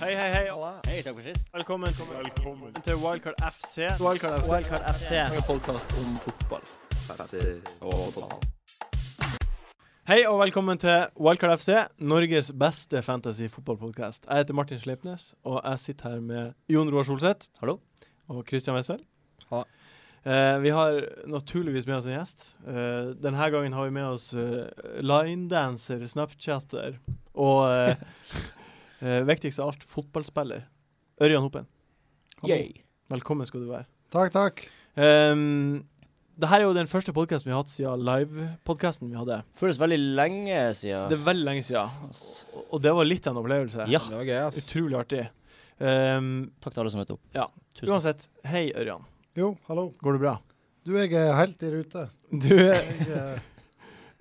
Hei, hei, hei. Hei, takk for sist. Velkommen, til Wildcard FC. Wildcard FC. Wildcard FC. En podkast om fotball. Hei og velkommen til Wildcard FC, Norges beste fantasy-fotballpodkast. Jeg heter Martin Sleipnes, og jeg sitter her med Jon Roar Solseth. Hallo. Og Christian Wessel. Ha. Eh, vi har naturligvis med oss en gjest. Eh, denne gangen har vi med oss eh, linedancer, snapchatter og eh, eh, viktigst av alt fotballspiller. Ørjan Hoppen, Yay. velkommen skal du være. Takk, takk. Um, det her er jo den første podkasten vi har hatt siden live-podkasten vi hadde. Føles veldig lenge Det siden. er veldig lenge siden, Ass. og- og det var litt av en opplevelse. Ja. Det var gøy, ass. Utrolig artig. Um, Takk til alle som møtte opp. Ja. Tusen takk. uansett, hei Ørjan. Jo, hallo. Går det bra? Du, jeg er helt i rute. Du, er- Jeg eh,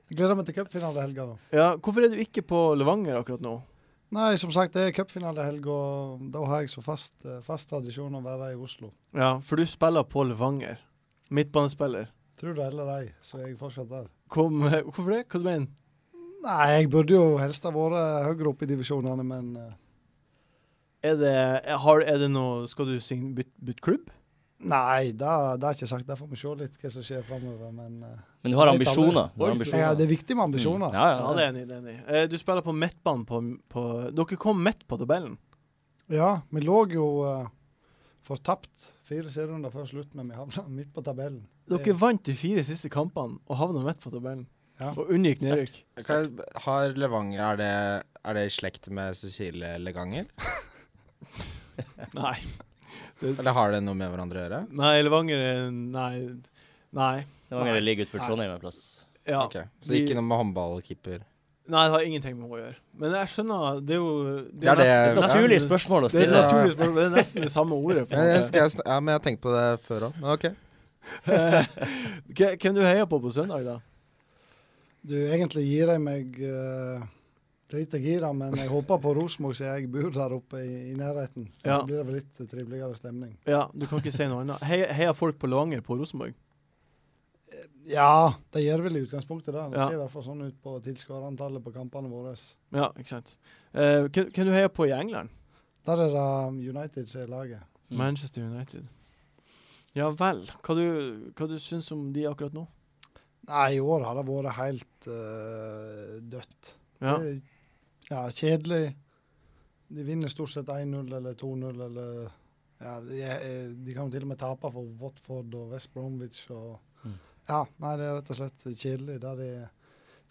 gleder meg til cupfinalehelga nå. ja, hvorfor er du ikke på Levanger akkurat nå? Nei, som sagt, det er cupfinalehelg, og da har jeg så fast, eh, fast tradisjon å være i Oslo. Ja, for du spiller på Levanger. Midtbanespiller. Tror det eller ei, så er jeg fortsatt der. Kom, eh, hvorfor det? Hva du mener du? Nei, jeg burde jo helst ha vært eh, høyere oppe i divisjonene, men eh, Er det, er- har, er det noe Skal du sing- bytte bytte klubb? Nei, det det er ikke sagt. Der får vi se litt hva som skjer framover, men eh, Men du har Litt ambisjoner. Du har Oi, Mm. ambisjoner. ja, det er viktig med ambisjoner. Ja, Ja, ja. det er enig. det er enig. Eh, Du spiller på midtbanen på, på Dere kom midt på tabellen. Ja, vi lå jo eh, fortapt fire serierunder før slutt, men vi havna midt på tabellen. Dere Det- vant de fire siste kampene og havna midt på tabellen. Ja. Og unngikk nedrykk. Hva- Har Levanger Er det, er det i slekt med Cecilie Leganger? Nei. Eller har det noe med hverandre å gjøre? Nei, Levanger er- Nei. Nei. Det var en ligge utenfor Trondheim en plass. Ja. Ok, Så ikke de- noe med håndballkeeper? Nei, det har ingenting med henne å gjøre. Men jeg skjønner Det er jo Det er det- nesten- Ja. Naturlig nesten- spørsmål å Det er, stille. Ja. naturlig spørsmål. det er nesten det samme ordet. på en Men jeg, måte. husker jeg, sn- ja, men jeg har tenkt på det før òg. Men ok. Eh, hva- Hvem du heier på på søndag, da? Du, egentlig gir jeg meg uh, lite gira, men jeg håper på Rosenborg siden jeg bor der oppe i, i nærheten. Så Ja. da blir det vel litt triveligere stemning. Ja, Du kan ikke si noe annet. Heier, heier folk på Levanger på Rosenborg? Ja, det gjør vel i utgangspunktet det. Det Ja. ser i hvert fall sånn ut på tilskuerantallet på kampene våre. Ja, ikke sant. Eh, hvem hvem du heier på i England? Der er det United som er laget. Mm. Manchester United. Ja vel. Hva du, hva du syns om de akkurat nå? Nei, i år har det vært helt eh, dødt. Ja. Det, ja, kjedelig. De vinner stort sett 1-0 eller 2-0 eller ja, de, er- eh, de kan jo til og med tape for Watford og West Bromwich og Mm. Ja, nei, det er rett og slett kjedelig der de,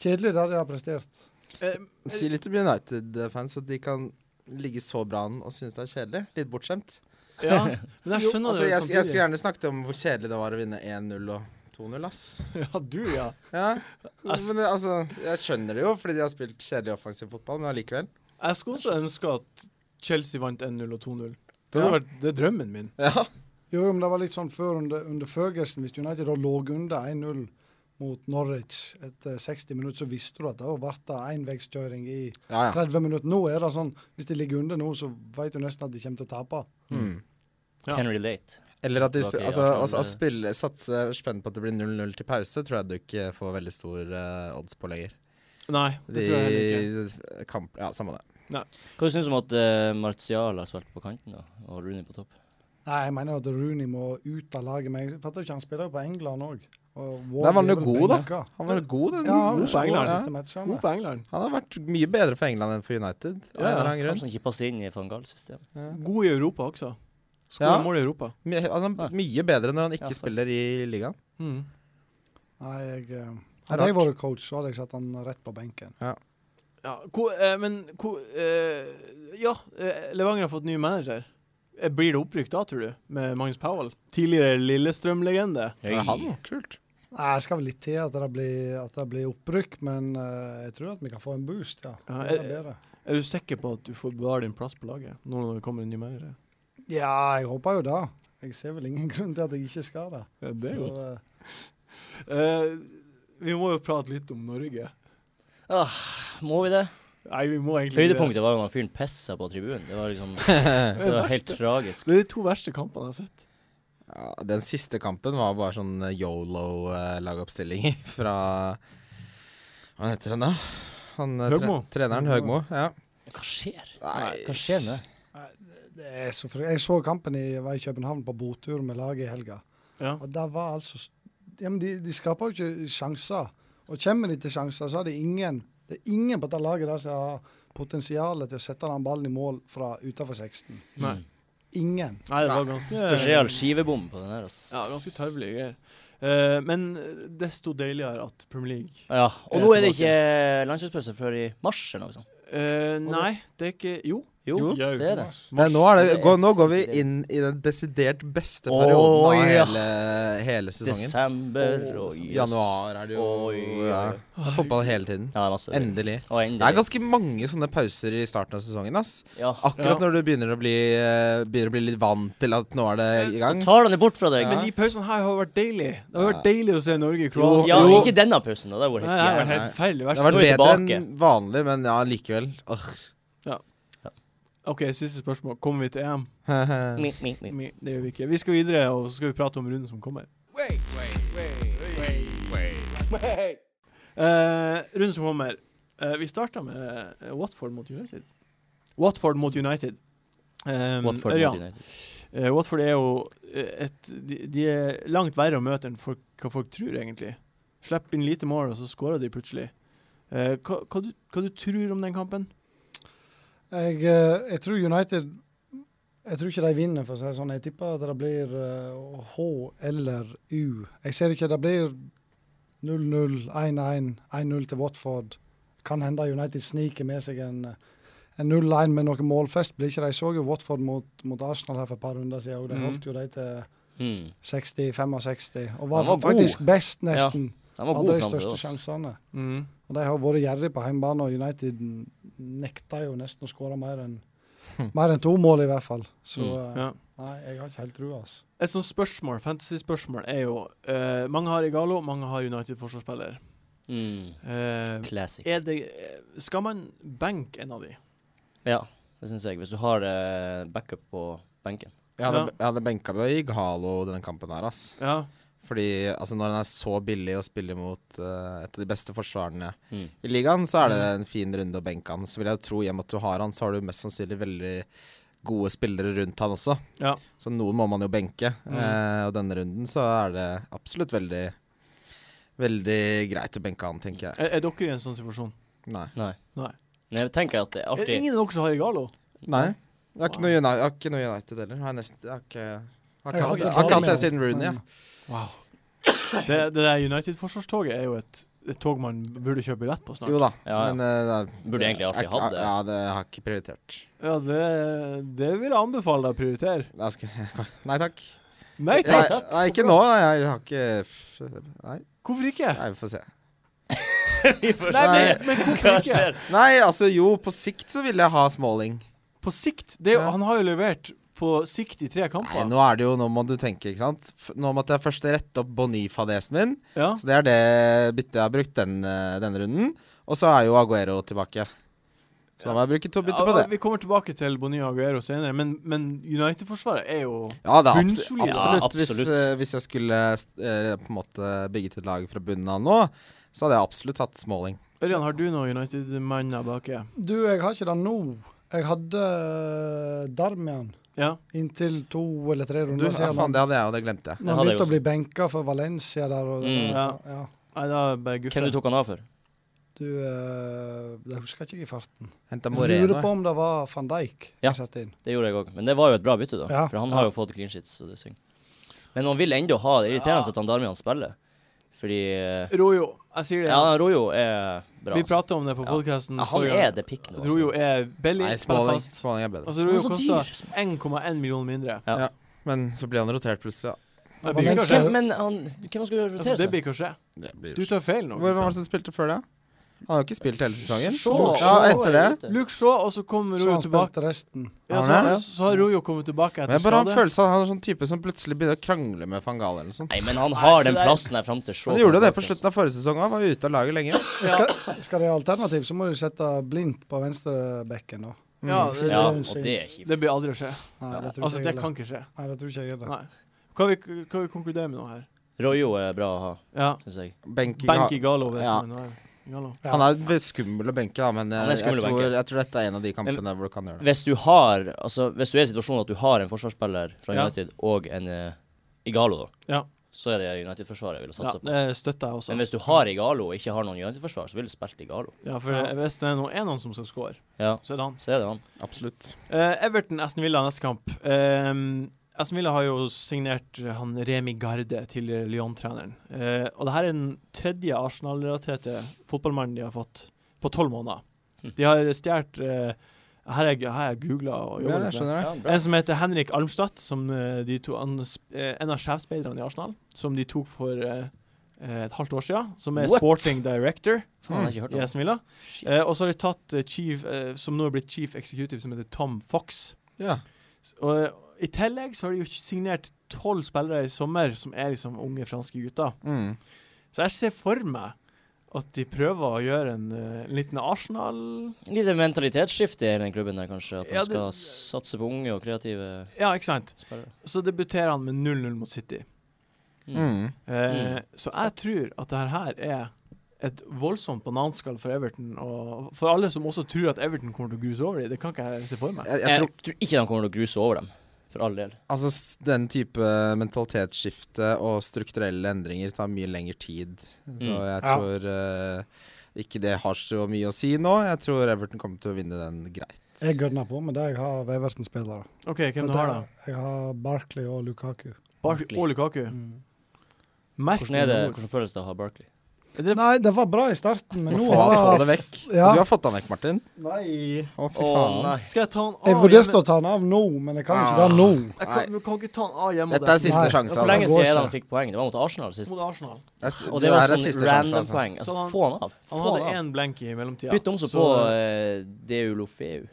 kjedelig der de har prestert. Eh, Si litt om United-fans, at de kan ligge så bra an og synes det er kjedelig. Litt bortskjemt. Eh, Ja, men jeg skjønner Altså, det sånn jeg, sk- jeg skulle samtidig. gjerne snakket om hvor kjedelig det var å vinne 1-0 og 2-0, ass. Ja, du, ja. Ja. Men det- altså, jeg skjønner det jo, fordi de har spilt kjedelig offensiv fotball, men allikevel. Jeg skulle også ønske at Chelsea vant 1-0 og 2-0. Det, Ja. hadde vært, det er drømmen min. Ja. Jo, jo, men det var litt sånn før under, under Ferguson, hvis United da lå under 1-0 mot Norwich etter 60 minutter, så visste du at det ble det enveiskjøring i Ja, ja. 30 minutter. Nå er det sånn, hvis de ligger under nå, så vet du nesten at de kommer til å tape. Mm. Ja. Can relate. Eller at de Det var spil, ikke altså, Arsenal, altså, det- å spille, satse spent på at det blir 0-0 til pause, tror jeg du ikke får veldig stor eh, odds på lenger. Nei, det tror jeg heller ikke. De kamp, ja, samme det. Hva syns du om at eh, Martial har spilt på kanten da, og Rooney på topp? Nei, jeg mener at Rooney må ut av laget. Men jeg fatter jo ikke, han spiller jo på England òg. Der var han jo god, da. Han var god, altså. den. Ja, han God var på England, god ja. siste matchen. God på England. Han har vært mye bedre for England enn for United. Ja, Av ja. en eller annen grunn. Kanskje han ikke passer inn i van Gaal-systemet. God i Europa også. Skåra Ja. mål i Europa. My- Han er mye bedre når han Ja, ikke sant. spiller i ligaen. Mm. Nei, jeg, eh, Det er hadde jeg rart. vært coach, så hadde jeg satt han rett på benken. Ja, hvor, eh, men hvor eh, Ja, eh, Levanger har fått ny manager. Eh, Blir det opprykk da, tror du? Med Magnus Powell? Tidligere Lillestrøm-legende. Det er han, kult. Nei, Jeg skal vel litt til at det blir, at det blir opprykk, men eh, jeg tror at vi kan få en boost, ja. Ja, Det er eh, bedre. Er du sikker på at du får bevare din plass på laget nå når det kommer en ny manager? Ja, jeg håper jo det. Jeg ser vel ingen grunn til at jeg ikke skal det. Ja, Så, eh, Eh, vi må jo prate litt om Norge. Ah, må vi det? Nei, vi må egentlig ikke det. Høydepunktet var jo når fyren pissa på tribunen. Det var liksom det var helt tragisk. Det er de to verste kampene jeg har sett. Ja, den siste kampen var bare sånn yolo-lagoppstilling fra Hva heter han da? Han, eh, tre Høgmo. treneren Høgmo. Ja. Hva skjer? Nei, Hva skjer med det? Nei, Det er så frykt- jeg så kampen i, var i København på botur med laget i helga. Ja. Og der var altså s- ja, men de, de skaper jo ikke sjanser. Og kommer de til sjanser, så er det ingen det er ingen på dette laget der som har potensial til å sette den ballen i mål fra utenfor 16. Nei. Ingen. Nei, det var Nei, ganske Mm. Real skivebom på den her, ass. Ja, ganske tarvelige greier. Eh, men desto deiligere at Premier League Ja, og nå er det ikke landslagspause før i mars eller noe sånt. Eh, Nei, det er ikke Jo. Jo, Jo, det er det. Nei, nå, er det, Det er gå, nå går vi sikkert- inn i den desidert beste Å, perioden av ja. hele, hele sesongen. Desember og jøss. Januar er det jo oh, Oi, ja. oi. Det er fotball hele tiden. Ja, det er masse. Endelig. Og Det er endelig. ganske mange sånne pauser i starten av sesongen. ass Ja. Akkurat Ja. når du begynner å bli, eh, begynner å bli litt vant til at nå er det Så i gang. tar han det bort fra deg. Ja. Men de pausene her har vært deilige. Det har vært Ja. deilig å se Norge i Ja, Kroatia. Jo. ikke denne pausen, da. Det var Nei, det helt har vært jævlig. helt forferdelig. Det Verst. har Nå vært er vi bedre enn vanlig, men ja, likevel. Åh. OK, siste spørsmål. Kommer vi til EM? Mi, mi, mi. Mi- Det gjør vi ikke. Vi skal videre, og så skal vi prate om runden som kommer. Eh, runden som kommer. Eh, vi starta med eh, Watford mot United. Watford mot United. Um, Watford mot Ørjan, United. Eh, Watford er jo eh, et de, de er langt verre å møte enn folk, hva folk tror, egentlig. Slipper inn lite mål, og så skårer de plutselig. Eh, hva, hva, du, hva du tror om den kampen? Jeg, eh, jeg tror United Jeg tror ikke de vinner, for å si det sånn. Jeg tipper at det blir eh, H eller U. Jeg ser ikke det blir 0-0, 1-1, 1-0 til Watford. Kan hende United sniker med seg en, eh, en 0-1 med noe målfest. Blir ikke de så jo Watford mot, mot Arsenal her for et par runder siden, og de Mhm. holdt jo de til Mm. 60-65. Og De var, var god. faktisk best, nesten. De var Hadde gode de fram til største oss. sjansene. Mm. Og de har vært gjerrige på hjemmebane, og United nekta jo nesten å skåre mer enn mer enn to mål, i hvert fall. Så Mm, eh, Hm. Ja. nei, jeg har ikke helt trua, altså. Et sånt spørsmål, fantasy-spørsmål, er jo eh, Mange har Igalo, mange har United-forsvarsspiller. Mm. Eh, Classic. er det eh, Skal man benke en av de? Ja, det syns jeg. Hvis du har eh, backup på benken. Jeg Ja. hadde, jeg hadde benka meg i Galo denne kampen her, ass. Ja. Fordi altså, når han er så billig å spille mot eh, et av de beste forsvarene Mm. i ligaen, så er det en fin runde å benke han. Så vil jeg tro, i og med at du har han, så har du mest sannsynlig veldig gode spillere rundt han også. Ja. Så noen må man jo benke. Eh, og denne runden så er det absolutt veldig Veldig greit å benke han, tenker jeg. Er, er dere i en sånn situasjon? Nei. Nei. Nei. Men jeg tenker at det er Er det artig. Eh, ingen av dere som har Igalo? Nei. Jeg har ikke noe United, jeg har ikke noe United heller. Jeg har nesten Jeg har ikke jeg Jeg har har ikke hatt- faktisk jeg har ikke hatt det Galo, siden Rooney. men- jeg. Wow. Det, det der United-forsvarstoget er jo et, et tog man burde kjøpe billett på snart. Jo da, Ja, ja. men eh, det- Burde egentlig alltid jeg- hatt det. Ja, det har jeg ikke prioritert. Ja, det, det vil jeg anbefale deg å prioritere. Jeg skal, nei takk. Nei takk! Nei, nei, ikke nå. Jeg, jeg har ikke f- Nei, Hvorfor ikke? nei, vi får se. Vi får Nei, Nei. se men, men hva hvorfor ikke? skjer. Nei, altså jo, på sikt så vil jeg ha Smalling. På sikt det, er jo- Ja. Han har jo levert på sikt i tre Nei, kamper. nå er det jo Nå må du tenke, ikke sant. F- Nå måtte jeg først rette opp Bonifa-desen min. Ja. Så det er det byttet jeg har brukt den, eh, denne runden. Og så er jo Aguero tilbake. Så da må jeg bruke to bytter på Ja, det. Vi kommer tilbake til Bonilla og Aguero senere, men, men United-forsvaret er jo Ja, det er abs Bunnsolid. absolutt. Ja, Hvis, absolutt. eh, hvis jeg skulle eh, på en måte bygget et lag fra bunnen av nå, så hadde jeg absolutt hatt Smalling. Ørjan, har du noen United-manner baki? Du, jeg har ikke det nå. Jeg hadde eh, Darmian Ja. inntil to eller tre Du, runder ja, siden. faen, det hadde jeg, og det glemte jeg. Når hadde han jeg begynte å bli benka for Valencia der. Og, Mm. ja. ja. Nei, da er det bare guffe. Hvem du tok han av for? Du, eh, det husker jeg ikke i farten. Henta Jeg Moreno. lurer på om det var van Dijk Ja. jeg satte inn. Det gjorde jeg òg. Men det var jo et bra bytte, da. Ja. For han har jo fått clean sheets, så det synger. Men man vil ennå ha det irriterende at han Darmian spiller. Fordi eh, Rojo. Jeg sier det. Ja, Rojo er bra. vi altså. prata om det på Ja. podkasten. Ja, han er det pikk nå. altså. Rojo er billig. Nei, spiller Smalling, fast. Smalling er bedre. Altså, Han Rojo er så koster dyr. 1,1 million mindre. Men så blir han rotert plutselig. Ja. Det Valencia- blir kanskje Hvem, men han, hvem han skal rotere altså, det seg? blir kanskje Det blir Du tar feil nå. Hvor var liksom. det som spilte før det? Han har jo ikke spilt hele sesongen. Shaw. Ja, etter det. Luke Shaw, og så kommer Så Rojo han tilbake. spilte resten. Ja, så, Har han har- så har Rojo kommet tilbake Men etter jeg bare har en skade. følelse av at han er sånn type som plutselig begynner å krangle med van Gaal eller noe sånt. Nei, men han Nei, har den det er- plassen her fram til Shaw. Men de gjorde jo det på slutten av forrige sesong òg, var ute av laget lenge. Skal, skal det ha alternativ, så må du sette blindt på venstrebekken. da. Mm. Ja, det, altså. Ja, og det er kjipt. det blir aldri å skje. Nei, det tror Altså, ikke det jeg kan ikke skje. heller. Nei, det tror ikke jeg heller. Nei. Hva vi, hva vi konkluderer med nå her? Rojo er bra å ha, Ja. syns jeg. Benk i Benk i ga- Galo. hvis Ja. man har- Gallo. Ja. Han er vel skummel å benke, da, men Han er jeg, jeg, skummel å tror, benke. jeg tror dette er en av de kampene hvor du kan gjøre det. Hvis du har Altså, hvis du er i situasjonen at du har en forsvarsspiller fra Ja. United og en eh, Igalo, da, Ja. så er det United-forsvaret jeg ville Ja, satsa på. det støtter jeg også. Men hvis du har Igalo og ikke har noen United-forsvar, så ville du spilt Igalo. Ja, for Ja. Hvis det er noen, er noen som skal score, Ja, så er det han. så er det han. Absolutt. Eh, Everton, Aston Villa neste kamp. Eh, Aston Villa har jo signert eh, han Remi Garde til eh, Lyon-treneren. Eh, og det her er den tredje Arsenal-relaterte fotballmannen de har fått på tolv måneder. De har stjålet eh, Her har jeg, her har jeg googla og Ja, jobba jeg litt med. skjønner det. Ja, bra. En som heter Henrik Almstad, som eh, de to, han, sp- eh, en av sjefspeiderne i Arsenal, som de tok for eh, eh, et halvt år siden, som er What? sporting director Faen, jeg har ikke hørt i om Aston Villa. Shit. Eh, og så har de tatt eh, chief, eh, som nå er blitt chief executive, som heter Tom Fox. Ja. S- Og eh, i tillegg så har de jo signert tolv spillere i sommer som er liksom unge franske gutter. Mm. Så jeg ser for meg at de prøver å gjøre en, eh, en liten Arsenal Lite mentalitetsskifte i hele den klubben der, kanskje. At de Ja, skal det- satse på unge og kreative Ja, ikke sant? spillere. Så debuterer han med 0-0 mot City. Mm. Mm. Eh, Mm. Så jeg tror at dette her er et voldsomt bananskall for Everton, og for alle som også tror at Everton kommer til å gruse over dem. Det kan ikke jeg se for meg. Jeg, jeg Jeg tror, tror ikke de kommer til å gruse over dem, for all del. altså, s- den type mentalitetsskifte og strukturelle endringer tar mye lengre tid. Så Mm. jeg Ja. tror eh, ikke det har så mye å si nå. Jeg tror Everton kommer til å vinne den greit. Jeg gønner på med det jeg har av Everton-spillere. OK, hvem du har da? Jeg har Barkley og Lukaku. Barkley og Lukaku. Merk Hvordan, er det, noe. hvordan føles det å ha Barkley? Er det Nei, det var bra i starten, men nå Nå få, få det vekk. Ja. Du har fått han vekk, Martin. Nei. Å, fy Å, faen. nei. Skal jeg ta han av Jeg vurderte å ta han av nå, men jeg kan ikke det nå. Jeg kan, du kan ikke ta han av hjemme Dette er siste Nei. sjanse. For lenge Altså. går siden er det ikke. han fikk poeng. Det var mot Arsenal sist. mot Arsenal. Det er s- Og det det var her er sånn siste sjanse, random altså. poeng. Så Altså, han- få han av. Han Få han hadde av. én blank i mellomtida. Bytt om så på eh, Deulofeu.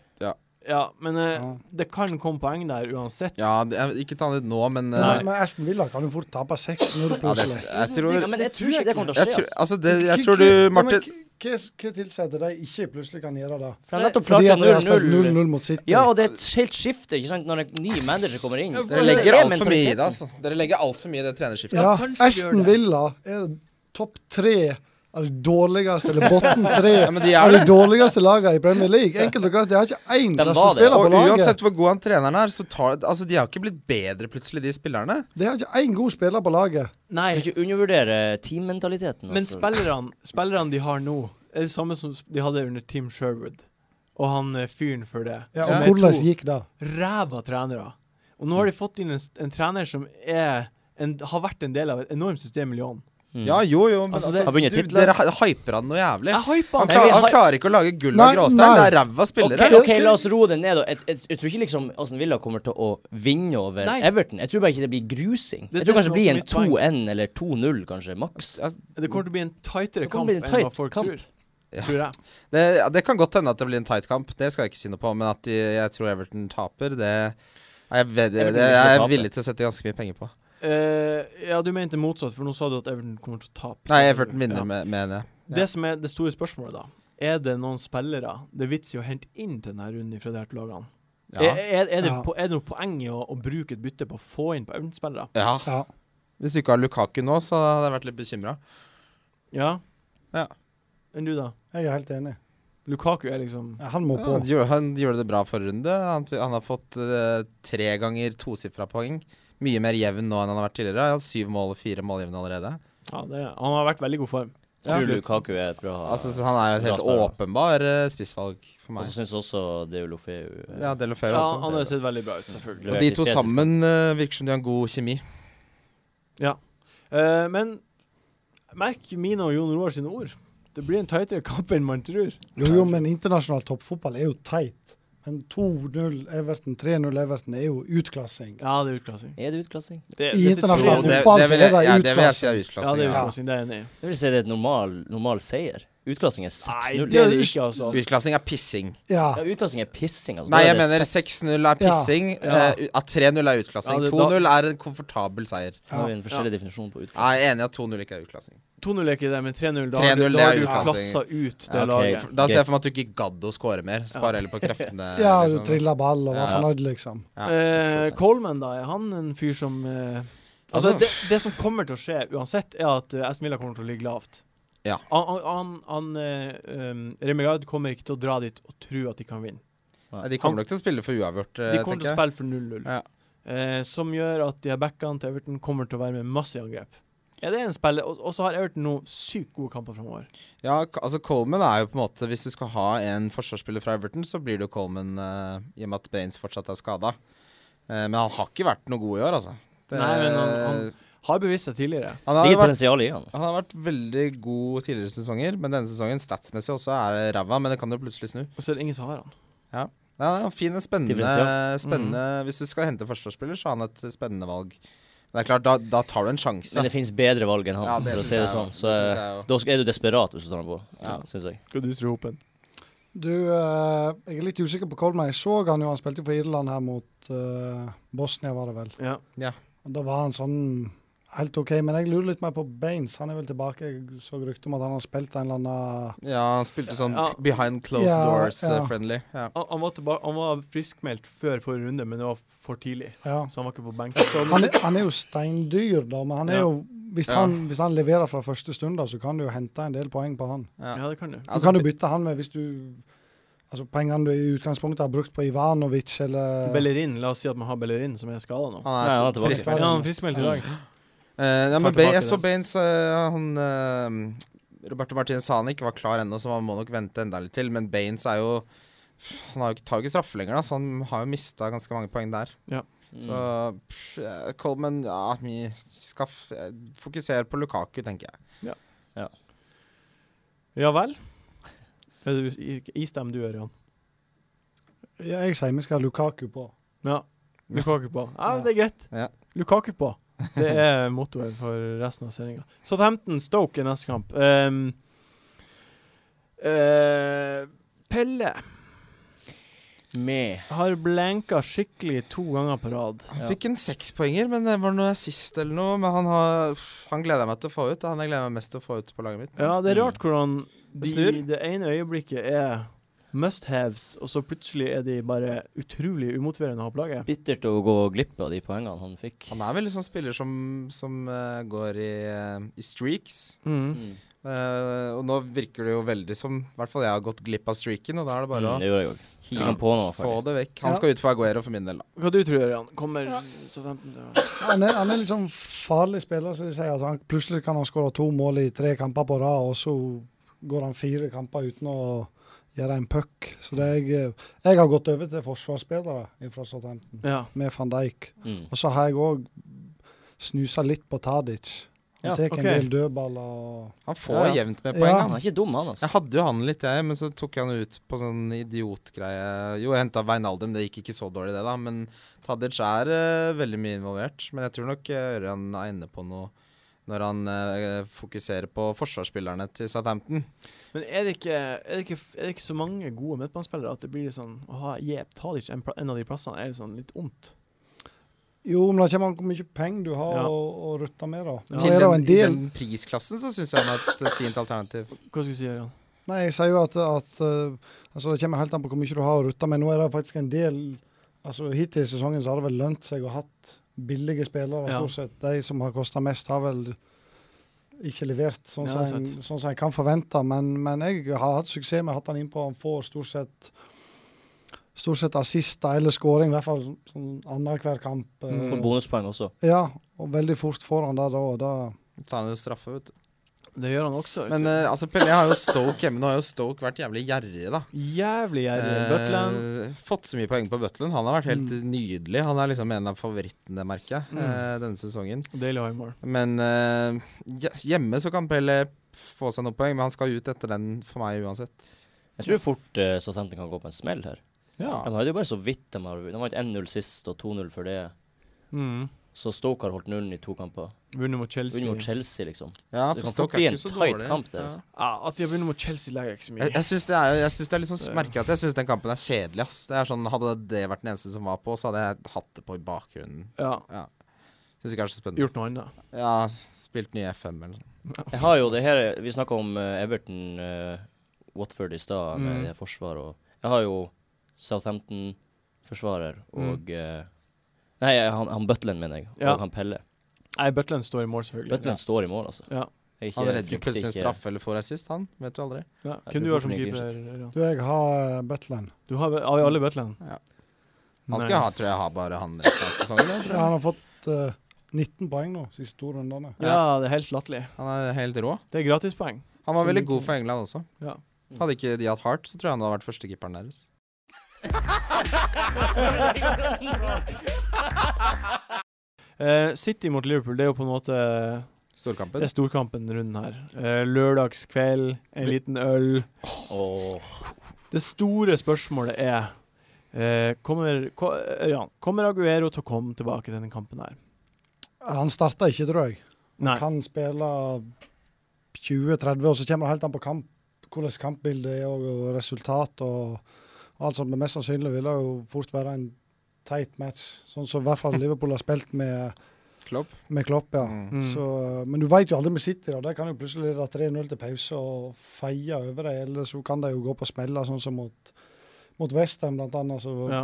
Ja, men eh, Ja. det kan komme poeng der uansett. Ja, det- jeg- ikke ta han ut nå, men eh, Men, men Aston Villa kan jo fort tape 6-0 ja, det, plutselig. jeg tror Ja, men jeg tror ikke det kommer til å jeg skje. tror, Altså. altså det, jeg Hva- tror hva- du, ja, men Martin hva- Hva hva tilsier at de ikke plutselig kan gjøre det? For han nettopp Fordi klarte at de har spilt 0-0. 0-0 mot City. Ja, og det er et helt skifte ikke sant, når en ny manager kommer inn. Dere Dere Det er legger altfor mye i mentaliteten. det, altså. Dere legger alt for mye i det trenerskiftet. Ja, kanskje gjør Aston det. Villa er topp tre av de dårligste, eller bottom tre Ja, men de er av de det. dårligste lagene i Premier League. Enkelt og greit, de har ikke én var det. klassespiller på Og laget. uansett hvor god han treneren er, så tar Altså, de har ikke blitt bedre, plutselig, de spillerne. De har ikke én god spiller på laget. Nei, Skal ikke undervurdere teammentaliteten. men altså. spillerne spillerne de har nå, er det samme som de hadde under Tim Sherwood. Og han eh, fyren for det. Ja, som og er hvordan to- gikk det? ræva trenere. Og nå har de fått inn en, s- en trener som er en, har vært en del av et enormt system i Lyon. Mm. Ja, jo, jo, men Altså, altså, det- Har vunnet du, titler. dere hy- hyper han noe jævlig. Jeg hyper Han, han! Nei, vi klar, han hy- klarer ikke å lage gull Nei, av gråstein. Det nei. er ræva Ok, spillere. ok, la oss roe det ned. Og jeg, jeg, jeg tror ikke liksom Aston Villa kommer til å vinne over Nei. Everton. Jeg tror bare ikke det blir grusing. Det er jeg tror det kanskje som det blir er en også mitt 2-1 eller 2-0, kanskje, maks. Ja, Det kommer til å bli en tightere Det kamp kommer til å bli en enn hva tight folk kamp. tror. Tror jeg. Det, ja, det kan godt hende at det blir en tight kamp, det skal jeg ikke si noe på. Men at de, jeg tror Everton taper, det er jeg, ved, det, Everton det vil er ikke jeg tape. villig til å sette ganske mye penger på. Eh, ja, du mente motsatt, for nå sa du at Everton kommer til å tape. Nei, Everton vinner, Ja. med- mener jeg. Det som er det store spørsmålet, da. Er det noen spillere det er vits i å hente inn til denne runden fra de her lagene? Eh, Ja. Er, er, er, det Ja. po er det noe poeng i å, å bruke et bytte på å få inn på Everton-spillere? ja. Ja. Hvis du ikke har Lukaku nå, så hadde jeg vært litt bekymra. Ja? Ja. Enn du, da? Jeg er helt enig. Lukaku er liksom Ja, Han må Ja, på. han, gjorde, han gjorde det bra forrige runde. Han, f- han har fått eh, tre ganger tosifra poeng. Mye mer jevn nå enn han har vært tidligere. Han har syv mål og fire målgivende allerede. ja, det er, Han har vært veldig god form. Tror absolutt. Lukaku er et bra Altså, så han er jo et bra helt spiller. åpenbar eh, spissvalg for Og meg. så syns også Deulofeu eh, Ja, Delofeu Ja, også. han har sett veldig bra ut, selvfølgelig. altså. Og de to Levert i tre sammen eh, virker som de har en god kjemi. Ja. Eh, men merk mine og Jon Roar sine ord. Det blir en tightere kamp enn man tror. Jo, jo, men internasjonal toppfotball er jo teit. Men 2-0 Everton, 3-0 Everton er jo utklassing. Ja, det er utklassing. Er det utklassing? Det, I internasjonal Jo, det, det, det, fotball det, vil jeg, så er det ja, det vil jeg si er ja, utklassing. det er Ja. utklassing. Det er jeg enig i. Jeg vil si det er et normal, normal seier. Utklassing er Nei, 6-0. det er det ikke, altså. Utklassing er pissing. Ja. Ja, utklassing er pissing. Altså. Nei, Da er jeg det mener seks. 6-0 er pissing. Ja. eh, At 3-0 er Ja, utklassing. det- 2-0 er en komfortabel seier. Nå har vi en forskjellig definisjon på utklassing. Jeg er enig i at 2-0 ikke er utklassing. 2-0 er ikke det, men 3-0 da har 3-0 du, det da har er du utklassing. klassa ut det Ja, ok. laget. Da ser Greit. jeg for meg at du ikke gadd å score mer. Spar heller på kreftene. ja, du liksom. trilla ball og var Ja. fornøyd, liksom. Eh, Ja, forståelse. Coleman, da, er han en fyr som eh, Altså, Altså- det, det som kommer til å skje uansett, er at eh, Aston Villa kommer til å ligge lavt. Ja. Han, han, han, han eh, um, Remigard kommer ikke til å dra dit og tro at de kan vinne. Nei, De kommer nok til å spille for uavgjort, eh, De kommer til å tenker jeg. spille for 0-0. Ja. Eh, som gjør at de her backene til Everton kommer til å være med masse i angrep. Ja, det er en spiller, og, og så har Everton nå sykt gode kamper framover. Ja, k- altså Coleman er jo på en måte Hvis du skal ha en forsvarsspiller fra Everton, så blir det jo Coleman eh, i og med at Baines fortsatt er skada. men han har ikke vært noe god i år, altså. Nei, men han- Har bevist seg tidligere. han har jo Ligger vært potensial i han. Han har vært veldig god tidligere sesonger, men denne sesongen statsmessig også er det ræva, men det kan jo plutselig snu. Og så er det ingen som har han. Ja, det er en fin, spennende, Mm. Differensial. spennende Hvis du skal hente forsvarsspiller, så har han et spennende valg. Men det er klart, da, da tar du en sjanse. Men det finnes bedre valg enn han, Ja, for å synes si det jeg jo. sånn. Så synes jeg jo. da sk- er du desperat hvis du tar den på, ja. Ja. syns jeg. Skal du tro på en? Du, eh, jeg er litt usikker på Coleman. Jeg så han jo, han spilte jo for Irland her mot eh, Bosnia, var det vel. Ja. Og Da var han sånn helt OK, men jeg lurer litt mer på Baines. Han er vel tilbake. Jeg så rykte om at han har spilt en eller annen Ja, han spilte sånn Ja. behind closed Ja, ja. doors-friendly. Ja. Han, han, var tilba- han var friskmeldt før forrige runde, men det var for tidlig. Ja. Så han var ikke på benken. Han er, han er jo steindyr, da, men han er Ja. jo hvis, Ja. han, hvis han leverer fra første stund, da, så kan du jo hente en del poeng på han. Ja. Ja, det kan du. Du Altså, kan jo bytte han med hvis du Altså pengene du i utgangspunktet har brukt på Ivanovic eller Bellerin, la oss si at man har Bellerin som er skada nå. Han Nei, han er er tilbake. frisk. Ja, han er friskmeldt i dag. Eh, ja, Tar men Ba- tilbake jeg så det. Baines eh, Han eh, Roberto Martinez sa han ikke var klar ennå, så man må nok vente enda litt til. Men Baines er jo Han har jo ikke, tar jo ikke straffe lenger, da, så han har jo mista ganske mange poeng der. Så Mm. pff, eh, Coleman ja, vi skal f eh, fokusere på Lukaku, tenker jeg. Ja vel? Er du i- Istem du, Ørjan. ja, Jeg sier vi skal ha Lukaku på. Ja. Lukaku på. Ja, men det er greit. Ja. Lukaku på. Det er mottoet for resten av sendinga. Southampton Stoke i neste kamp. Ehm, eh, Pelle Mm. Med har blenka skikkelig to ganger på rad. Han Ja. fikk en sekspoenger, men det var noe sist eller noe. Men han, har, pff, han gleder jeg meg til å få ut. Det er Han jeg gleder meg mest til å få ut på laget mitt. Ja, det er rart hvordan de, Det snur. det ene øyeblikket er must haves, og så plutselig er de bare utrolig umotiverende å ha på laget. bittert å gå glipp av de poengene han fikk. Han er vel liksom spiller som, som eh, går i, eh, i streaks. Mm. Mm. Eh, og nå virker det jo veldig som I hvert fall jeg har gått glipp av streaken, og da er det bare Mm, det gjorde jeg òg. å Fikk han på nå, få ferdig. det vekk. Han Ja. skal ut for Aguero for min del, da. Hva du tror du, Ørjan? Kommer Southampton til å Han er, han er liksom farlig spiller, som de sier. Altså, han, plutselig kan han skåre to mål i tre kamper på rad, og så går han fire kamper uten å gjøre en puck. Så det er jeg, jeg har gått over til forsvarsspillere fra Southampton, Ja. med van Dijk. Mm. Og så har jeg òg snusa litt på Tadic. Han Ja, tar ok. en del dødballer og Han får Ja, ja. jevnt med Ja. poeng, Han han. er ikke dum, han, altså. Jeg hadde jo han litt, jeg, men så tok jeg han ut på sånn idiotgreie. Jo, jeg henta Veinaldum, det gikk ikke så dårlig, det, da. Men Tadic er eh, veldig mye involvert. Men jeg tror nok eh, Ørjan er inne på noe når han eh, fokuserer på forsvarsspillerne til Southampton. Men er det, ikke, er, det ikke, er det ikke så mange gode midtbanespillere at det blir litt sånn Å ha Jep Tadic en, pla- en av de plassene er litt sånn litt ondt? Jo, men det kommer an på hvor mye penger du har Ja. å, å rutte med, da. Ja. Så Til er det jo den, en I del den prisklassen så syns jeg han er et fint alternativ. Hva skulle du si, Jørgen? Nei, jeg sier jo at, at eh, altså, det kommer helt an på hvor mye du har å rutte med. Nå er det faktisk en del altså Hittil i sesongen så har det vel lønt seg å ha hatt billige spillere, Ja. stort sett. De som har kosta mest, har vel ikke levert sånn Ja, som en, sant. sånn som en kan forvente. Men, men jeg har hatt suksess med å ha hatt han innpå. Han får stort sett stort sett assister eller scoring, i hvert fall sånn annenhver kamp. eh. Mm. Får bonuspoeng også. Ja, og veldig fort får han det da. og da Så han er jo straffe, vet du. Det gjør han også. vet Men du. eh, altså, Pelé har jo Stoke hjemme. Nå har jo Stoke vært jævlig gjerrige, da. Jævlig gjerrig. Eh, Butland. fått så mye poeng på Butland. Han har vært helt Mm. nydelig. Han er liksom en av favorittene, merker jeg, eh, denne sesongen. Daily Highmore. Men eh, hje- hjemme så kan Pelé få seg noen poeng, men han skal ut etter den for meg uansett. Jeg tror fort uh, Southampton kan gå på en smell her. Ja. De hadde jo bare så vidt de har De vant 1-0 sist og 2-0 før det. Mm. Så Stoke har holdt nullen i to kamper. Vunnet mot Chelsea. Vunnet mot Chelsea, liksom. Ja, Det for kan Stoke fort er bli ikke en så tight dårlig. kamp, det, Ja. altså. ja, at de har vunnet mot Chelsea, legger jeg ikke så mye Jeg, jeg syns det er, jeg synes det er litt sånn Det- merker at jeg syns den kampen er kjedelig, ass. Det er sånn, hadde det vært den eneste som var på, så hadde jeg hatt det på i bakgrunnen. Ja, Syns ikke det er så spennende. Gjort noe annet. Ja, spilt nye FM eller noe. Jeg har jo det her Vi snakka om eh, Everton, eh, Watford i stad, med Mm. det forsvar og Jeg har jo Southampton-forsvarer og eh, Nei, han, han Butland, mener jeg. Mm. Ja. Og han Pelle. Nei, Butland står i mål, selvfølgelig. Butland står i mål, altså. Ja. Jeg Han redder jo frykter plutselig en ikke- straffe eller får assist, han. Vet du aldri. Ja. Jeg Hvem tror du har som fortsatt keeper? ikke Ørjan? Du, jeg har Butland. Du har, har vi alle Butland? Ja. Han skal ha, tror jeg, ha bare han resten av sesongen. Jeg, Ja, tror jeg. han har fått eh, 19 poeng nå, siste to rundene. Ja, det er helt latterlig. Han er helt rå. Det er gratispoeng. Han var Som veldig ikke- god for England også. Ja. Hadde ikke de hatt Heart, så tror jeg han hadde vært førstekeeperen deres. Eh, City mot Liverpool, det er jo på en måte Det Storkampen. er storkampen rundt her. Eh, lørdagskveld, en liten øl. Åh. Det store spørsmålet er eh, Kommer, ko, Ørjan, kommer Aguero til å komme tilbake til denne kampen her? Han starta ikke, tror jeg. Nei. Kan spille 20-30, og så kommer det helt an på kamp, hvordan kampbildet er og, og resultat og alt sånt. Men mest sannsynlig vil det jo fort være en teit match, sånn som i hvert fall Liverpool har spilt med, Klopp. med Klopp. ja. Mm. Mm. Så, men du veit jo aldri med City. da, De kan jo plutselig lede 3-0 til pause og feie over det. Eller så kan de jo gå på smeller, sånn som mot, mot Western bl.a. Så ja.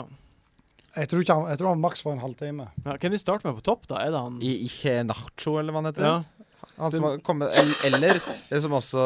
jeg, tror ikke han, jeg tror han maks var en halvtime. Ja, kan de starte med på topp, da? Er det han I, i Nacho, eller hva han heter. ja. Han som har kommet, el- eller det som også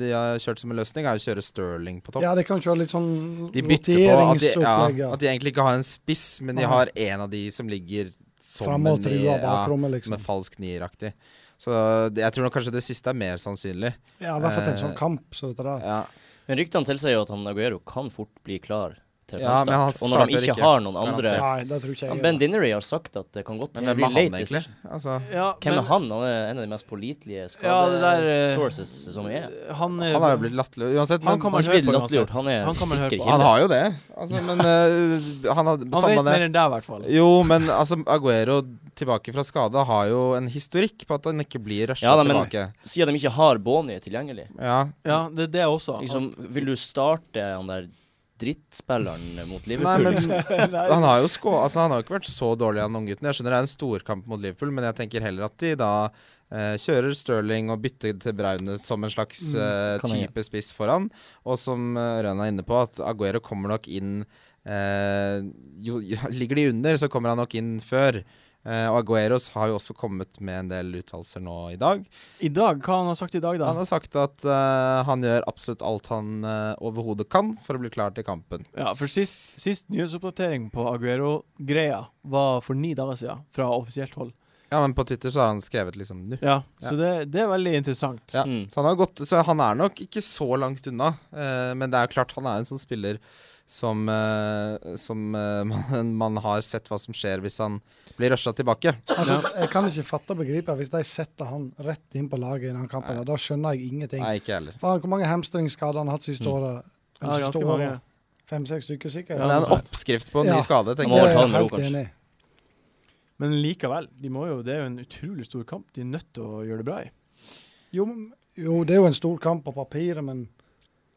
de har kjørt som en løsning, er å kjøre Sterling på topp. Ja, de kan kjøre litt sånn De bytter på at de, roteringsopplegg. ja, at de egentlig ikke har en spiss, men de Nei. har en av de som ligger som eh, Fram og en i- trua bakrommet, som en liksom. falsk nieraktig. Så det, jeg tror nok kanskje det siste er mer sannsynlig. Ja, I hvert fall til en eh, sånn kamp. Så dette der. Ja. Men ryktene tilsier jo at han Aguero kan fort bli klar til Ja, men han kampstart. Og når de starter ikke ikke, har noen andre garantert. Nei, det tror ikke Han jeg. Ben Dinnery har sagt at det kan godt Men hvem bli er late han egentlig? decision. Altså, ja, Hvem men- er han? Han er en av de mest pålitelige Ja, det der, eh, skadesources som er. Han, han har jo blitt latterlig Han uansett. Men kan han, man ikke høre bli på latterliggjort, uansett. han er kan man sikker høre på. kilde. har jo det. Altså, men eh, han hadde Han samme vet det. mer enn deg, i hvert fall. Jo, men altså, Aguero tilbake fra skade har jo en historikk på at han ikke blir rusha Ja, da, men- tilbake. Siden de ikke har Bonnie tilgjengelig, Ja, Ja, det er det også. liksom, vil du starte han der drittspilleren mot Nei, Liverpool? men han har jo skå, altså, han har jo ikke vært så dårlig, han unggutten. Jeg skjønner det er en storkamp mot Liverpool, men jeg tenker heller at de da eh, kjører Sterling og bytter til Braune som en slags eh, Mm, kan jeg type spiss foran. Og som eh, Ørjan er inne på, at Aguero kommer nok inn eh, jo, jo, Ligger de under, så kommer han nok inn før. Eh, og Agueros har jo også kommet med en del uttalelser nå i dag. I dag, hva han har sagt i dag, da? Han har sagt at eh, han gjør absolutt alt han eh, overhodet kan for å bli klar til kampen. Ja, for sist, sist nyhetsoppdatering på Aguero-greia var for ni dager siden, fra offisielt hold. Ja, men på Twitter så har han skrevet liksom nå. Ja, Ja. så det, det er veldig interessant. Ja. Mm. Så han, har gått, så han er nok ikke så langt unna, eh, men det er klart han er en sånn spiller som, eh, som eh, man, man har sett hva som skjer hvis han blir rusha tilbake. Altså, jeg kan ikke fatte og begripe hvis de setter han rett inn på laget i den kampen. Nei. Da skjønner jeg ingenting. Nei, ikke jeg heller. Faen, hvor mange hamstringskader han har hatt siste Mm. året? Ja, Eller siste ganske mange. året? Fem-seks stykker, sikkert. Ja, Men det er en sant. oppskrift på en Ja. ny skade, det må er tenker jeg. overtale jeg nå, helt kanskje. enig i. Men likevel, de må jo, det er jo en utrolig stor kamp. De er nødt til å gjøre det bra i. Jo, men- jo, det er jo en stor kamp på papiret, men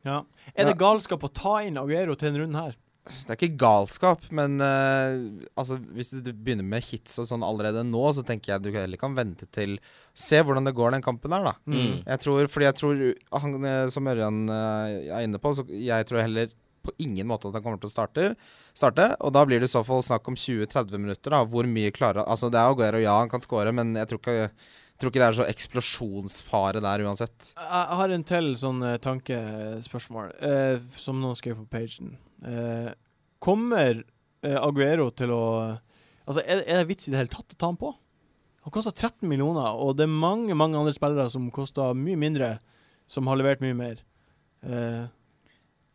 Ja. Er Ja. det galskap å ta inn Aguero til en runde her? Det er ikke galskap, men eh, altså, hvis du begynner med hits og sånn allerede nå, så tenker jeg du heller kan vente til Se hvordan det går den kampen der, da. Mm. Jeg tror, fordi jeg tror han, eh, Som Ørjan eh, er inne på, så jeg tror heller på ingen måte at han kommer til å starte. starte og da blir det i så fall snakk om 20-30 minutter. da, Hvor mye klarer Altså Det er Aguero, ja, han kan score, men jeg tror ikke, jeg tror ikke det er så eksplosjonsfare der uansett. Jeg jeg har en til sånn eh, tankespørsmål, eh, som noen skrev på pagen. Eh, kommer eh, Aguero til å Altså, er, er det vits i det hele tatt å ta han på? Han koster 13 millioner, og det er mange mange andre spillere som koster mye mindre, som har levert mye mer. Eh,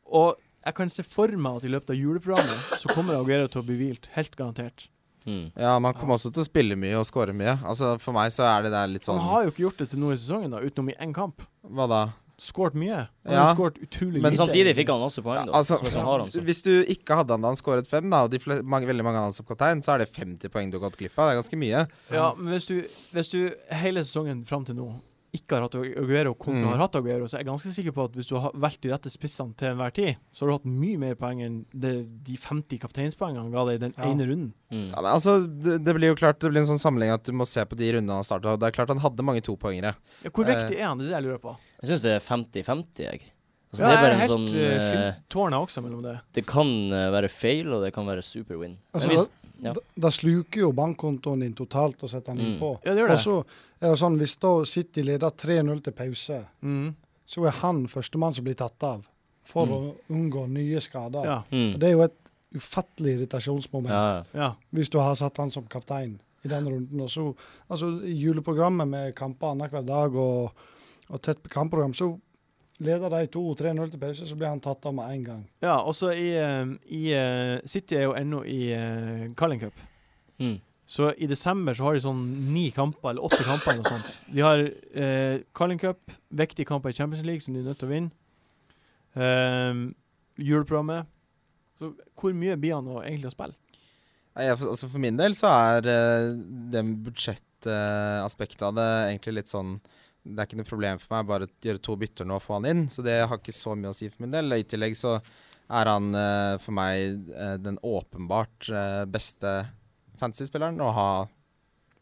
og jeg kan se for meg at i løpet av juleprogrammet så kommer Aguero til å bli hvilt, helt garantert. Mm. Ja, Man kommer også til å spille mye og score mye. Altså For meg så er det der litt Så sånn han har jo ikke gjort det til noe i sesongen, da, utenom i én kamp. Hva da? Skåret mye. Han Ja. har skåret utrolig Men Men lite. samtidig fikk han masse poeng, da. Ja, altså, så så har han så. Hvis du ikke hadde han da han skåret fem, da, og de fle mange, veldig mange hadde han som kaptein, så er det 50 poeng du har gått glipp av. Det er ganske mye. Ja, men hvis du, hvis du hele sesongen fram til nå ikke har hatt Aguero kontra Mm. har hatt Aguero, så er jeg ganske sikker på at hvis du har valgt de rette spissene til enhver tid, så har du hatt mye mer poeng enn det, de 50 kapteinspoengene han ga deg i den Ja. ene runden. Mm. Ja, men altså, det, det blir jo klart Det blir en sånn sammenheng at du må se på de rundene han starta. Det er klart han hadde mange topoengere. Ja, hvor Eh. viktig er han? Det er det jeg lurer på. Jeg syns det er 50-50, jeg. Altså, Ja, det er jeg bare en helt sånn eh, eh, skiltårnet også mellom det. Det kan eh, være feil, og det kan være super win. Men altså, hvis, Ja. Det- Det sluker jo bankkontoen din totalt å sette den Mm. innpå. Ja, det gjør Og det. så er det sånn, hvis da City leder 3-0 til pause, Mm. så er han førstemann som blir tatt av for å unngå nye skader. Ja. Mm. Og Det er jo et ufattelig irritasjonsmoment Ja, ja. ja. hvis du har satt han som kaptein i den runden. Og så, altså, I juleprogrammet med kamper annenhver dag og, og tett kampprogram, så leder de 2-3-0 til pause, så blir han tatt av med en gang. ja også i, eh, i eh, City er jo ennå i eh, Carling Cup. Mm. Så i desember så har de sånn ni kamper, eller åtte kamper eller noe sånt. De har eh, Carling Cup, viktige kamper i Champions League som de er nødt til å vinne. Ehm, juleprogrammet. Så hvor mye blir han å egentlig å spille? Nei, jeg- Altså For min del så er eh, det budsjettaspektet av det egentlig litt sånn Det er ikke noe problem for meg bare å gjøre to bytter nå og få han inn. Så det har ikke så mye å si for min del. I tillegg så er han eh, for meg eh, den åpenbart eh, beste fantasy-spilleren å ha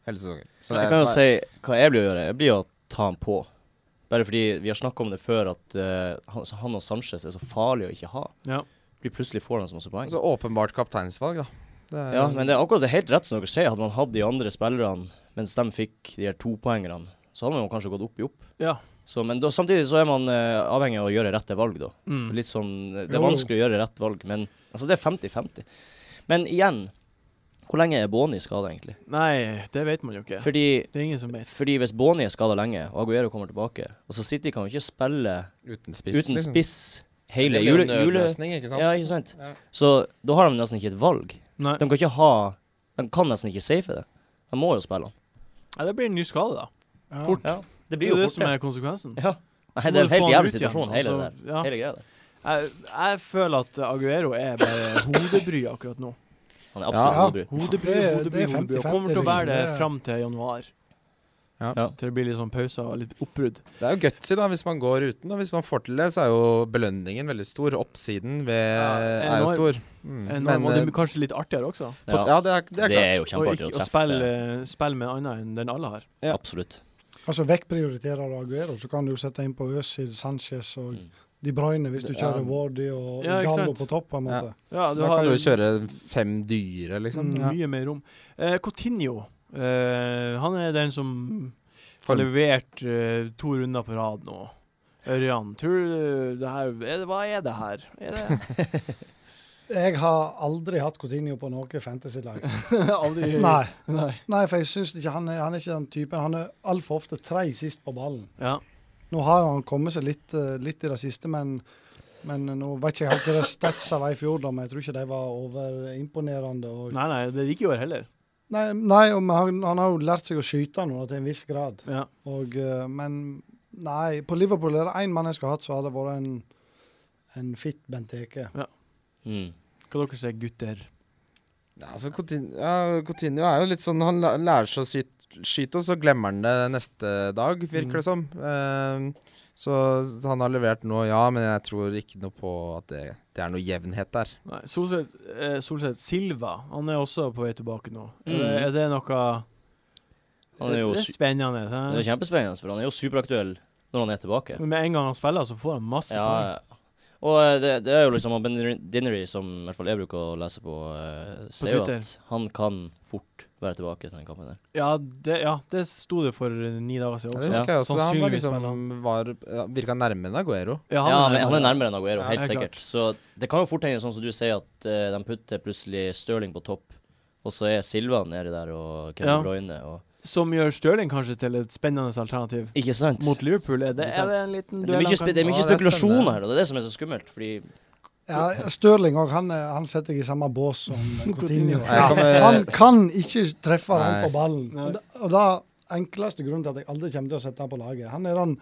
hele sesongen. Så det Jeg er kan jo for- si hva jeg blir å gjøre. Jeg blir å ta han på. Bare fordi vi har snakka om det før, at eh, han, han og Sanchez er så farlig å ikke ha. Ja. Blir plutselig får han så masse poeng. altså, åpenbart kapteinsvalg, da. Det er- Ja, men det er akkurat det er helt rett som dere sier. Hadde man hatt de andre spillerne mens de fikk de her topoengerne, så hadde man jo kanskje gått opp i opp. Ja. Så, men da, samtidig så er man eh, avhengig av å gjøre rette valg, da. Mm. Litt sånn, det Jo, er jo. vanskelig å gjøre rett valg, men altså det er 50-50. Men igjen, hvor lenge er Boni skada egentlig? Nei, det vet man jo ikke. Fordi, Det er ingen som vet. fordi hvis Boni er skada lenge, og Aguero kommer tilbake, og så City kan jo ikke spille Uten spiss. uten liksom. spiss hele det blir jo jule... en jule nødløsning, ikke sant? ja, ikke sant? Ja. Så da har de nesten ikke et valg. Nei. De kan ikke ha De kan nesten ikke safe det. De må jo spille han. Ja, det blir en ny skade, da. Ja. Fort. Ja, det Det blir er jo det fort som er konsekvensen. Ja. Nei, Så det må du er en få helt han jævlig ut igjen, situasjon, hele det altså. der. Ja. Hele greia der. Jeg, jeg føler at Aguero er bare hodebry akkurat nå. Han er absolutt Ja. hodebry. Hodebry, Det er- hodebry, det er hodebry. Og 50-50 kommer til å være det liksom. Det er- fram til januar. Ja. Ja. Til det blir litt sånn pauser og litt oppbrudd. Det er jo gutsy da, hvis man går uten, og hvis man får til det, så er jo belønningen veldig stor. Oppsiden ved, Ja, er jo enorm. stor. Mm. Men, og det eh, er kanskje litt artigere også. pot- ja, det, er, det er klart. Det er jo Og kjempeartig ikke å å treffe. spille, spille med annen enn den alle har. ja. Absolutt. Altså vekkprioriterer du Aguero, så kan du jo sette inn på Øzil, Sanchez og Mm. De Bruyne hvis du Ja. kjører Wardy og Ja, ikke Gallo sant? på topp, på en måte. Ja, Da kan du jo kjøre fem dyre, liksom. mm, Ja. mye mer rom. Eh, Coutinho, eh, han er den som har Form. levert eh, to runder på rad nå. Ørjan, tror du det her er det, Hva er det her? Er det Jeg har aldri hatt Coutinho på noe fantasy-lag. Aldri Nei. Nei. Nei, for jeg syns ikke han er, han er ikke den typen. Han er altfor ofte tre sist på ballen. Ja. Nå har jo han kommet seg litt, eh, litt i det siste, men, men nå vet ikke jeg helt hva det statsa var i fjor, da, men jeg tror ikke de var overimponerende. Og, nei, nei, nei, det gikk i år heller. nei, og- men han, han har jo lært seg å skyte nå da, til en viss grad. Ja. Og, eh, men nei, på Liverpool er det én mann jeg skulle hatt, så hadde det vært en, en fit Benteke. Mm. Hva dere sier, gutter? Ja, altså, Coutinho, ja, Coutinho er jo litt sånn Han læ- lærer seg å syte, skyte, og så glemmer han det neste dag, Mm. virker det som. Ehm, så, så han har levert nå, ja, men jeg tror ikke noe på at det, det er noe jevnhet der. Nei, Solseth, eh, Solseth Silva, han er også på vei tilbake nå. Er, det, Mm. er det noe Han er jo Det sy- er spennende. det er hæ? kjempespennende, for han er jo superaktuell når han er tilbake. Men med en gang han spiller, så får han masse Ja, poeng. ja. og eh, det, det er jo liksom han Ben Dinnery, som i hvert fall jeg bruker å lese på, eh, sier jo Twitter. at han kan fort være tilbake til den kampen der. Ja, det, ja, det sto det for eh, ni dager siden Ja, også. det husker jeg også. Han var Sannsynligvis spiller liksom, var, ja, virka nærmere Aguero. Ja, Ja, men han er nærmere enn Aguero, Ja, helt det er sikkert. Så det kan jo fort hende, sånn som du sier, at eh, de putter plutselig Stirling på topp, og så er Silva nede der, og Kevin Ja. ja. Bruyne og Som gjør Stirling kanskje til et spennende alternativ Ikke sant? mot Liverpool. Er det, Ikke er sant. det en liten Men det, duell er mye, han spe det er kan mye Ja, det er spekulasjoner spennende. her, og det er det som er så skummelt, fordi Ja, Stirling òg, han, er- han setter jeg i samme bås som Coutinho. Coutinho. Jeg kan med- Han kan ikke treffe han Nei. på ballen. Nei. Og da- Og da enkleste grunnen til at jeg aldri kommer til å sette han på laget. Han er den,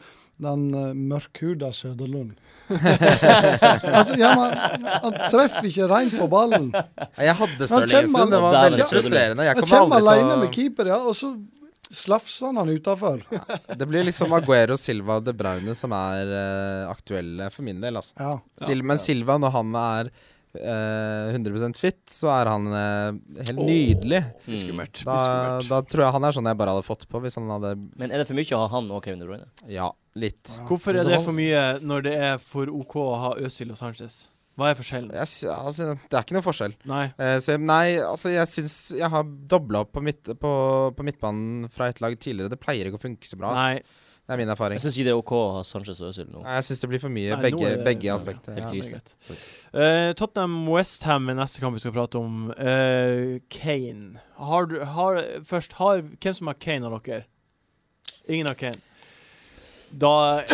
den eh, mørkhuda Søderlund. altså, ja, men, han treffer ikke rent på ballen. Nei, Jeg hadde Stirling en kommer han- stund. Det var Der er veldig det frustrerende. Jeg Han kommer kommer alene aldri med til keeper, ja, og så slafser han han utafor. å Det blir liksom Aguero, Silva og De Bruyne som er eh, aktuelle for min del. Altså. Ja. Sil men Silva, når han er eh, 100 fit, så er han eh, helt nydelig. bli skummelt. bli Da, skummelt. da tror jeg han er sånn jeg bare hadde fått på hvis han hadde Mm, Men er det for mye å ha han og Kevin De Bruyne? Ja, litt. Ja. Hvorfor Så er det han- for mye når det er for OK å ha Øzil og Sanchez? Hva er forskjellen? Jeg, sy- altså, det er ikke noe forskjell. Nei. Eh, så jeg- nei, altså jeg syns Jeg har dobla opp på, midt, på, på midtbanen fra et lag tidligere. Det pleier ikke å funke så bra. ass. Nei. Det er min erfaring. Jeg syns ikke det er OK å ha Sanchez og Øzil nå. Nei, jeg syns det blir for Nei, mye, nå begge, er det- begge ja, aspekter. Helt Ja, krise. meget. Eh, Tottenham Westham er neste kamp vi skal prate om. Eh, Kane. Har du har, Først, har, hvem som har Kane av dere? Ingen har Kane. Da eh,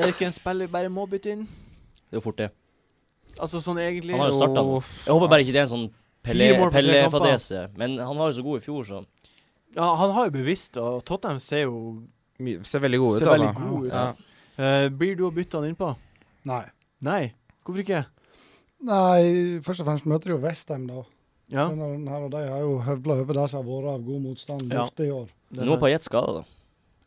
er det ikke en spiller vi bare må bytte inn. Det er jo fort, det. Altså sånn egentlig Han har jo startet nå. f- Jeg håper bare ikke det er en sånn Fire mål på tre kamper. Pelle-fadese. Men han var jo så god i fjor, så Ja, han har jo bevisst, og Tottenham ser jo my- Ser veldig gode ut, Ser altså. veldig gode ut. Ja. Eh, Blir du å bytte han innpå? Nei. Nei. Hvorfor ikke? Nei, først og fremst møter de jo Westham, da. Ja, Denne runden her, og de har jo høvla over det som har vært av god motstand Ja. borte i år. det er Nå er sant. Pajett skada, da.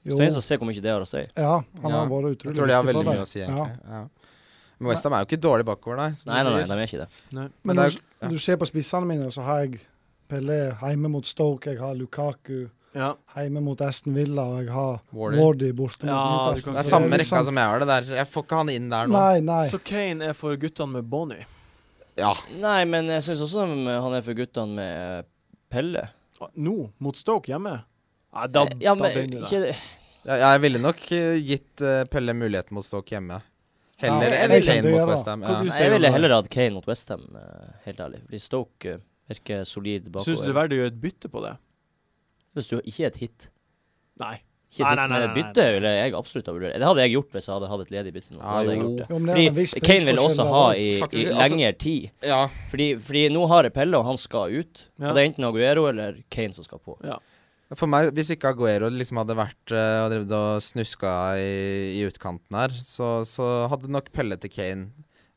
Jo, Spennende å se hvor mye det har å si. ja, han Ja. har vært Jeg utrolig tror de har viktig for veldig dem. mye å si, egentlig. Ja. Men Westham er jo ikke dårlig bakover, nei. Som Nei, du nei, nei, sier. de er ikke det. Men Men det er når jo- ja. du ser på spissene mine, så har jeg Pelé hjemme mot Stoke, jeg har Lukaku Ja. hjemme mot Aston Villa, og jeg har Wardy. Wardy borte mot Ja, Newcastle. liksom- Det er Så samme det er rekka som jeg har det der. Jeg får ikke han inn der nå. Nei, nei. Så Kane er for guttene med Bonnie. Ja, Nei, men jeg syns også de- han er for guttene med eh, Pelle. Ah, Nå, mot Stoke hjemme? Nei, da, Eh, ja, da men begynner det. ikke jeg, jeg ville nok eh, gitt eh, Pelle muligheten mot Stoke hjemme. Heller Ja, jeg enn vet Kane ikke om du gjør mot det. Westham. Hva du Ja. Nei, sier jeg ville om det? heller hatt Kane mot Westham, helt ærlig. Fordi Stoke eh, virker solid bakover. Syns du det er verdt å gjøre et bytte på det? Hvis du ikke er et hit. Nei. Ikke et Nei, hit, nei, nei, men nei, et nei. bytte ville jeg absolutt ha vurdert. Det hadde jeg gjort hvis jeg hadde hatt et ledig bytte nå. Da Ja, hadde jeg jo. gjort det. Jo, men det er en Fordi viss Kane vil også prisforskjell ha der i, i Faktisk, altså- lengre tid. ja. Fordi, fordi nå har jeg Pelle, og han skal ut. Ja. Og det er enten Aguero eller Kane som skal på. For meg, hvis ikke Aguero liksom hadde vært eh, og drevet og snuska i, i utkanten her, så, så hadde nok Pelle til Kane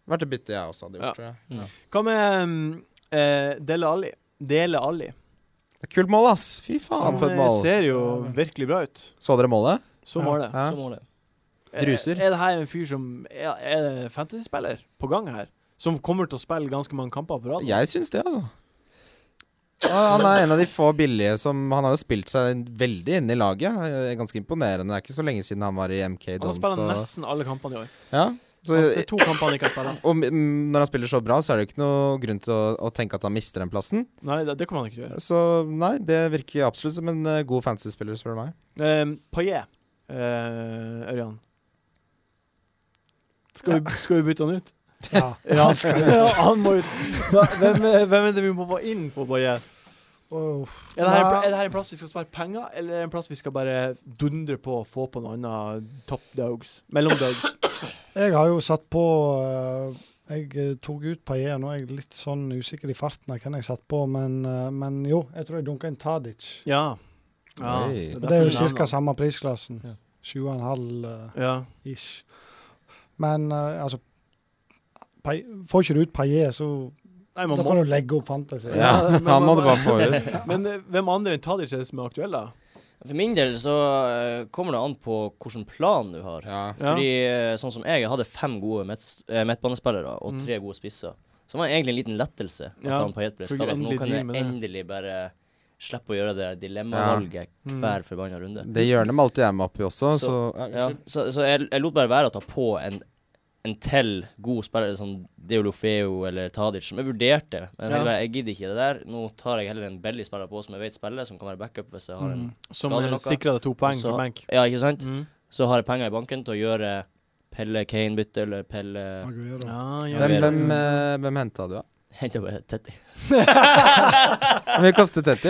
vært et bytte jeg også hadde Ja. gjort. tror jeg. Hva med mm, eh, Dele Alli? Dele Alli. Det er Kult mål, ass! Fy faen, for et Han, eh, mål. ser jo Ja, men- virkelig bra ut. Så dere målet? Så Ja. målet. Ja. Så må det. Er- Druser. Er, det her en fyr som Er, er det fantasyspiller på gang her? Som kommer til å spille ganske mange kamper på rad? nå? Jeg syns det, altså. Ja, Han er en av de få billige som Han har jo spilt seg veldig inn i laget. Eh, Ganske imponerende. Det er ikke så lenge siden han var i MK Han har Dons. spilt Og, nesten alle kampene i år. ja, så, Altså, det er to kamper han ikke har spilt. og mm, når han spiller så bra, så er det jo ikke noe grunn til å, å tenke at han mister den plassen. Nei, det, det kommer han ikke til å gjøre. Så nei, det virker absolutt som en eh, god fantasy-spiller, spør du meg. Um, Paillet, eh, Ørjan. Skal vi, skal vi bytte han ut? også. Ja. Ja, han må ut. Hva- Hvem, er- hvem er det vi må få inn på Paillet? Uff. Er det, her, en pla- Nei. er det her en plass vi skal spare penger, eller er det en plass vi skal bare dundre på og få på noe annet top dogs? Mellom dogs? Jeg har jo satt på eh, Jeg eh, tok ut Paillet, nå er jeg litt sånn usikker i farten av hvem jeg satt på, men, eh, men jo, jeg tror jeg dunka en Tadic. Ja. ja. Oi. derfor Og det er vi jo nevner ca. han. samme prisklassen. Ja. 7,5 eh, Ja. ish. Men eh, altså Pai- Får ikke du ut Paillet, så Nei, da man må kan du legge opp fantasy. Ja, men- han må men- du bare få ut. Men eh, hvem andre enn Tadic er det som er aktuell, da? For min del så eh, kommer det an på hvilken plan du har. Ja. Ja. Fordi eh, sånn som jeg, jeg hadde fem gode midts- eh, midtbanespillere og Mm. tre gode spisser. Så det var egentlig en liten lettelse at Ja, han Payet ble for å skadet. For nå endelig kan deal jeg med det. endelig bare slippe å gjøre det dilemmavalget Mm. hver forbanna runde. Det hjørnet malte jeg meg opp i også, så, Ja, så så jeg, jeg lot bare være å ta på en, en til god spiller, som Deolofeo eller Tadic, som jeg vurderte. Men Ja. jeg, bare, jeg gidder ikke det der. Nå tar jeg heller en billig spiller på som jeg vet spiller, som kan være backup hvis jeg har en Mm. Som Skader eh, noe. sikrer deg to poeng Også- fra benk? Ja, ikke sant? Mm. Så har jeg penger i banken til å gjøre Pelle Kane-bytte eller Pelle Aguero. Ja, ja. Hvem, hvem, eh, hvem henta du, da? Henter bare Tetti. Vi kastet 30.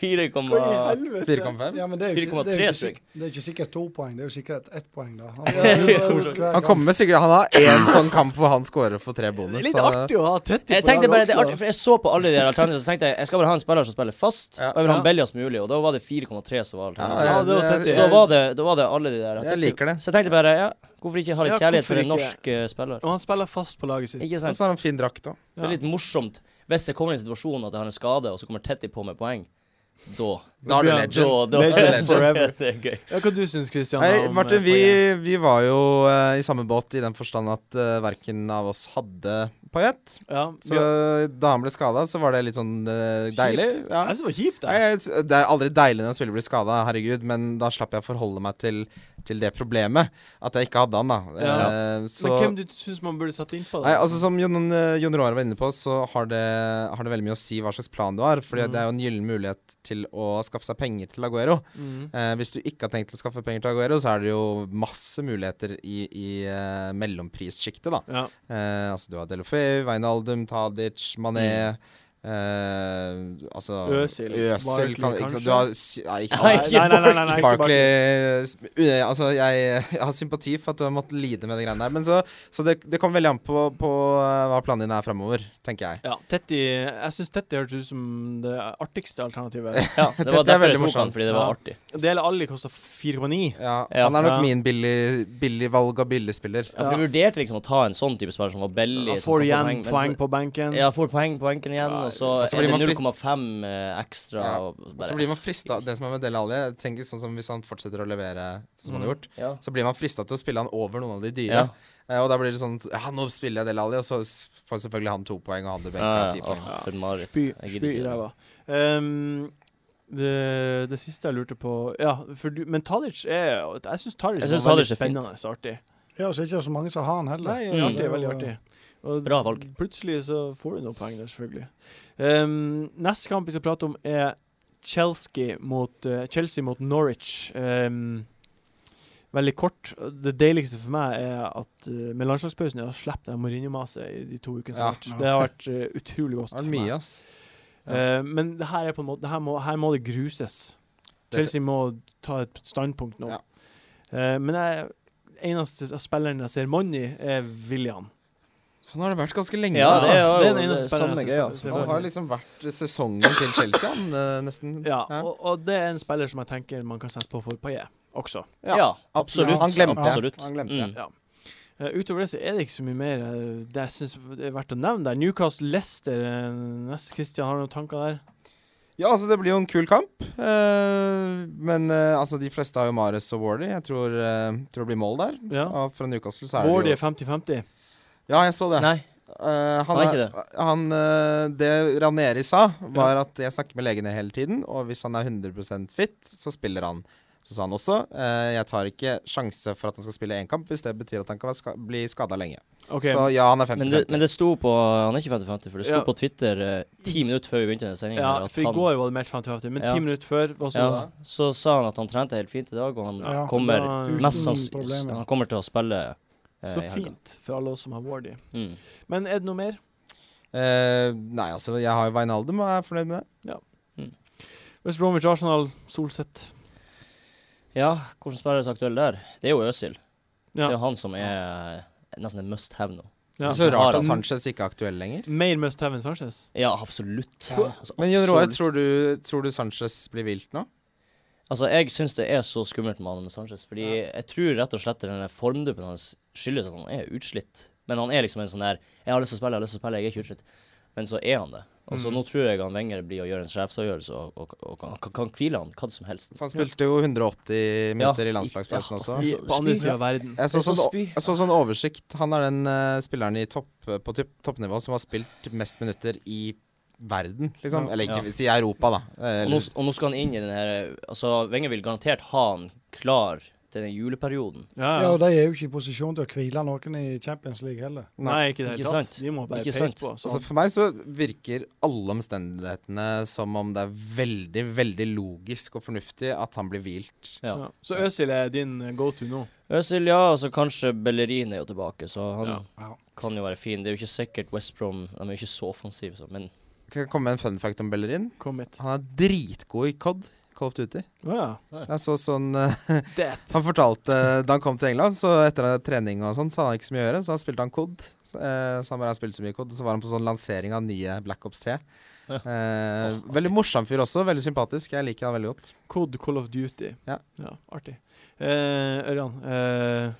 4,5. 4,5. Ja, men det er 4,3 jo ikke, det er jo ikke, tror jeg. sik- det er ikke sikkert to poeng, det er jo sikkert ett poeng, da. Han, Han kommer med sikkert Han har én sånn kamp hvor han scorer for tre Det er bonus. litt så- artig å ha 30 Jeg tenkte bare, det er artig, for jeg så på alle de der alternativene, så tenkte jeg jeg skal bare ha en spiller som spiller fast, Ja. og jeg vil ha Ja. en billigst mulig, og da var det 4,3 som var alternativet. Ja, jeg- det var 30. jeg- Så da var, det, da var det alle de der. Jeg liker det. Så jeg tenkte bare, ja, hvorfor ikke ha litt Ja, kjærlighet hvorfor for en ikke? norsk eh, spiller? Og han spiller fast på laget sitt. Ikke Og sant? så har han fin drakt òg. Det er litt morsomt hvis jeg kommer i en situasjon at jeg har en skade, og så kommer Tetti på med poeng. Da. Da er du Ja, Da, da. legend. Legend forever. det er gøy. Ja, hva du syns Christian? Hei, om, Martin, eh, poenget? vi, vi var jo eh, i samme båt i den forstand at eh, verken av oss hadde Payet. Ja, Så da han ble skada, så var det litt sånn eh, Kjipt. deilig. Ja. Jeg synes det var kjipt, Nei, det. jeg, s- det er aldri deilig når en spiller blir skada, herregud, men da slapp jeg å forholde meg til, til det problemet. At jeg ikke hadde han, da. Ja. Eh, så Men hvem du syns man burde satt inn på det? Nei, altså Som Jon, eh, Jon Roar var inne på, så har det, har det veldig mye å si hva slags plan du har. Fordi Mm. det er jo en gyllen mulighet til å skaffe seg penger til Aguero. mm. Eh, hvis du ikke har tenkt til å skaffe penger til Aguero, så er det jo masse muligheter i, i eh, mellomprissjiktet, da. ja. Eh, altså du har Delofeu, Wijnaldum, Tadic, Mané Mm. eh, altså, Øsil. Øsil Barkley, kan, ikke, sant? kanskje? Du har, s- nei, ikke, Nei, alle- ikke ikke Barkley sp- u- Altså, jeg, jeg har sympati for at du har måttet lide med de greiene der. Men så, så det, det kommer veldig an på, på eh, hva planen din er framover, tenker jeg. Ja, Tetti, jeg syns Tetti hørtes ut som det artigste alternativet. Ja, det Dette er var derfor veldig jeg tok morsomt. han, fordi det Ja. var artig. Dele Alli kosta 4,9. Ja, Ja. han er nok Ja. min billig, billig valg av billigspiller. Ja, for Ja. Du vurderte liksom å ta en sånn type spiller som var billig. Da som får du kan få igjen men så- poeng på benken. Ja, får poeng på benken igjen, Ja, og så og så er altså, blir det man frist- 0,5 eh, ekstra. Ja, og Og Så blir man frista Den som er med Dele Alli, jeg tenker sånn som hvis han fortsetter å levere sånn som han har gjort, ja. så blir man frista til å spille han over noen av de dyre. Mm. Ja. Eh, og da blir det sånn Ja, nå spiller jeg Dele Alli, og så s- får selvfølgelig han to poeng, og han du benka Ja, ti ja, poeng. åh, for et mareritt. Spy, spy Jeg gidder i ikke. ræva. Ehm, det, det siste jeg lurte på Ja, for du, men Tadic er Jeg syns Tadic Jeg er synes veldig Tadic er fint. spennende og artig. Ja, og så er det ikke så mange som har han heller. Nei, Mm. artig, veldig artig. Og Bra valg. Plutselig så får du noen poeng der, selvfølgelig. Ehm, neste kamp vi skal prate om, er Chelsea mot, eh, Chelsea mot Norwich. Ehm, veldig kort. Det deiligste for meg er at eh, med landslagspausen jeg har sluppet det Mourinho-maset i de to ukene som har vært. Ja. Det har vært eh, utrolig godt. Det er for meg. mye, ass. Ja. Eh, men det her er på en måte det her må, her må det gruses. Dette- Chelsea må ta et standpunkt nå. Ja. Eh, men jeg, eneste av spilleren jeg ser monn i, er William. Sånn har det vært ganske lenge. Ja, altså. det er jo det er den det eneste spilleren samme jeg greia. ser- ser Han monn har i. liksom vært sesongen til Chelsea, han, eh, nesten. Ja, Ja. og, og det er en spiller som jeg tenker man kan sette på for Paillet også. Ja, Ja, absolutt. absolutt. Han glemte jeg. absolutt. Han glemte jeg. Mm. Ja. Eh, utover det så er det ikke så mye mer eh, det jeg syns er verdt å nevne der. Newcastle Leicester eh, nest Christian, har du noen tanker der? Ja, altså det blir jo en kul kamp. eh, men eh, altså de fleste har jo Mares og Wardy. Jeg tror, eh, tror det blir mål der. Ja. Og fra Newcastle så er Wardy det er 50-50. jo Ja, jeg så det. Nei. Eh, han, Han er er- ikke han, eh, det Raneri sa, var at jeg snakker med legene hele tiden, og hvis han er 100 fit, så spiller han. Så sa han også eh, jeg tar ikke sjanse for at han skal spille én kamp hvis det betyr at han kan være ska bli skada lenge. OK. Så ja, han er 50-50. Men det, men det sto på Han er ikke 50-50, for det sto Ja. på Twitter eh, ti minutter før vi begynte denne sendinga. Ja, for i går var det meldt 50-50, men ti Ja. minutter før var så ja, så sa han at han trente helt fint i dag, og han Ja, kommer da- mest uten sannsynlig problemer. Han kommer til å spille eh, Så i helga. fint for alle oss som har Wardy. Mm. Men er det noe mer? Eh, nei, altså, jeg har jo Wijnaldum og er fornøyd med det. West Bromwich Arsenal, Solseth. Ja, hvordan spiller det seg aktuell der? Det er jo Øsil. Det er Ja. jo han som er nesten en must have nå. Det Ja. er så rart at Mm. Sanchez ikke er aktuell lenger. Mer must have enn Sanchez. Ja, absolutt. Ja. Altså, Men Jon Roar, absolutt. tror, du- tror du Sanchez blir vilt nå? Altså, jeg syns det er så skummelt med Adam Sanchez, fordi jeg tror rett og slett denne formduppen hans skyldes at han er utslitt. Men han er liksom en sånn der 'Jeg har lyst til å spille, jeg har lyst til å spille, jeg er ikke utslitt'. Men så er han det. Og så Mm. nå tror jeg han Wenger blir å gjøre en sjefsavgjørelse og, og, og kan, kan, kan hvile han hva som helst. For Han spilte jo 180 minutter Ja, i landslagspausen ja, også. altså, I, på andre spy. sida av verden. Jeg så det er så sånn, o- spy. jeg så sånn oversikt. Han er den eh, spilleren i topp, på typ, toppnivå som har spilt mest minutter i verden, liksom. Eller ikke Ja. si Europa, da. Eh, Og nå, Eller, og nå skal han inn i den her Altså, Wenger vil garantert ha han klar til den juleperioden. Ja, Ja, ja. og de er jo ikke i posisjon til å hvile noen i Champions League heller. Nei, ikke i det Ikke hele tatt. sant. De må bare Ikke peise sant. på. altså, Sånn. for meg så virker alle omstendighetene som om det er veldig, veldig logisk og fornuftig at han blir hvilt. Ja. Ja. Så Øzil er din go to nå. Øzil, ja, og så kanskje Bellerin er jo tilbake, så han Ja. Ja. kan jo være fin. Det er jo ikke sikkert West Brom De er jo ikke så offensive, så, men Kan jeg komme med en fun fact om Bellerin? Kom hit. Han er dritgod i COD, Call of Duty. Å ja. Jeg så sånn eh, Death. Han fortalte eh, da han kom til England, så etter trening og sånn, så hadde han ikke så mye å gjøre, så da spilte han COD. Så, eh, så han bare har spilt så mye COD, og så var han på sånn lansering av nye Black Ops 3. Ja. Eh, veldig morsom fyr også, veldig sympatisk. Jeg liker han veldig godt. Code Call of Duty. Ja. artig. Eh, Ørjan. Eh,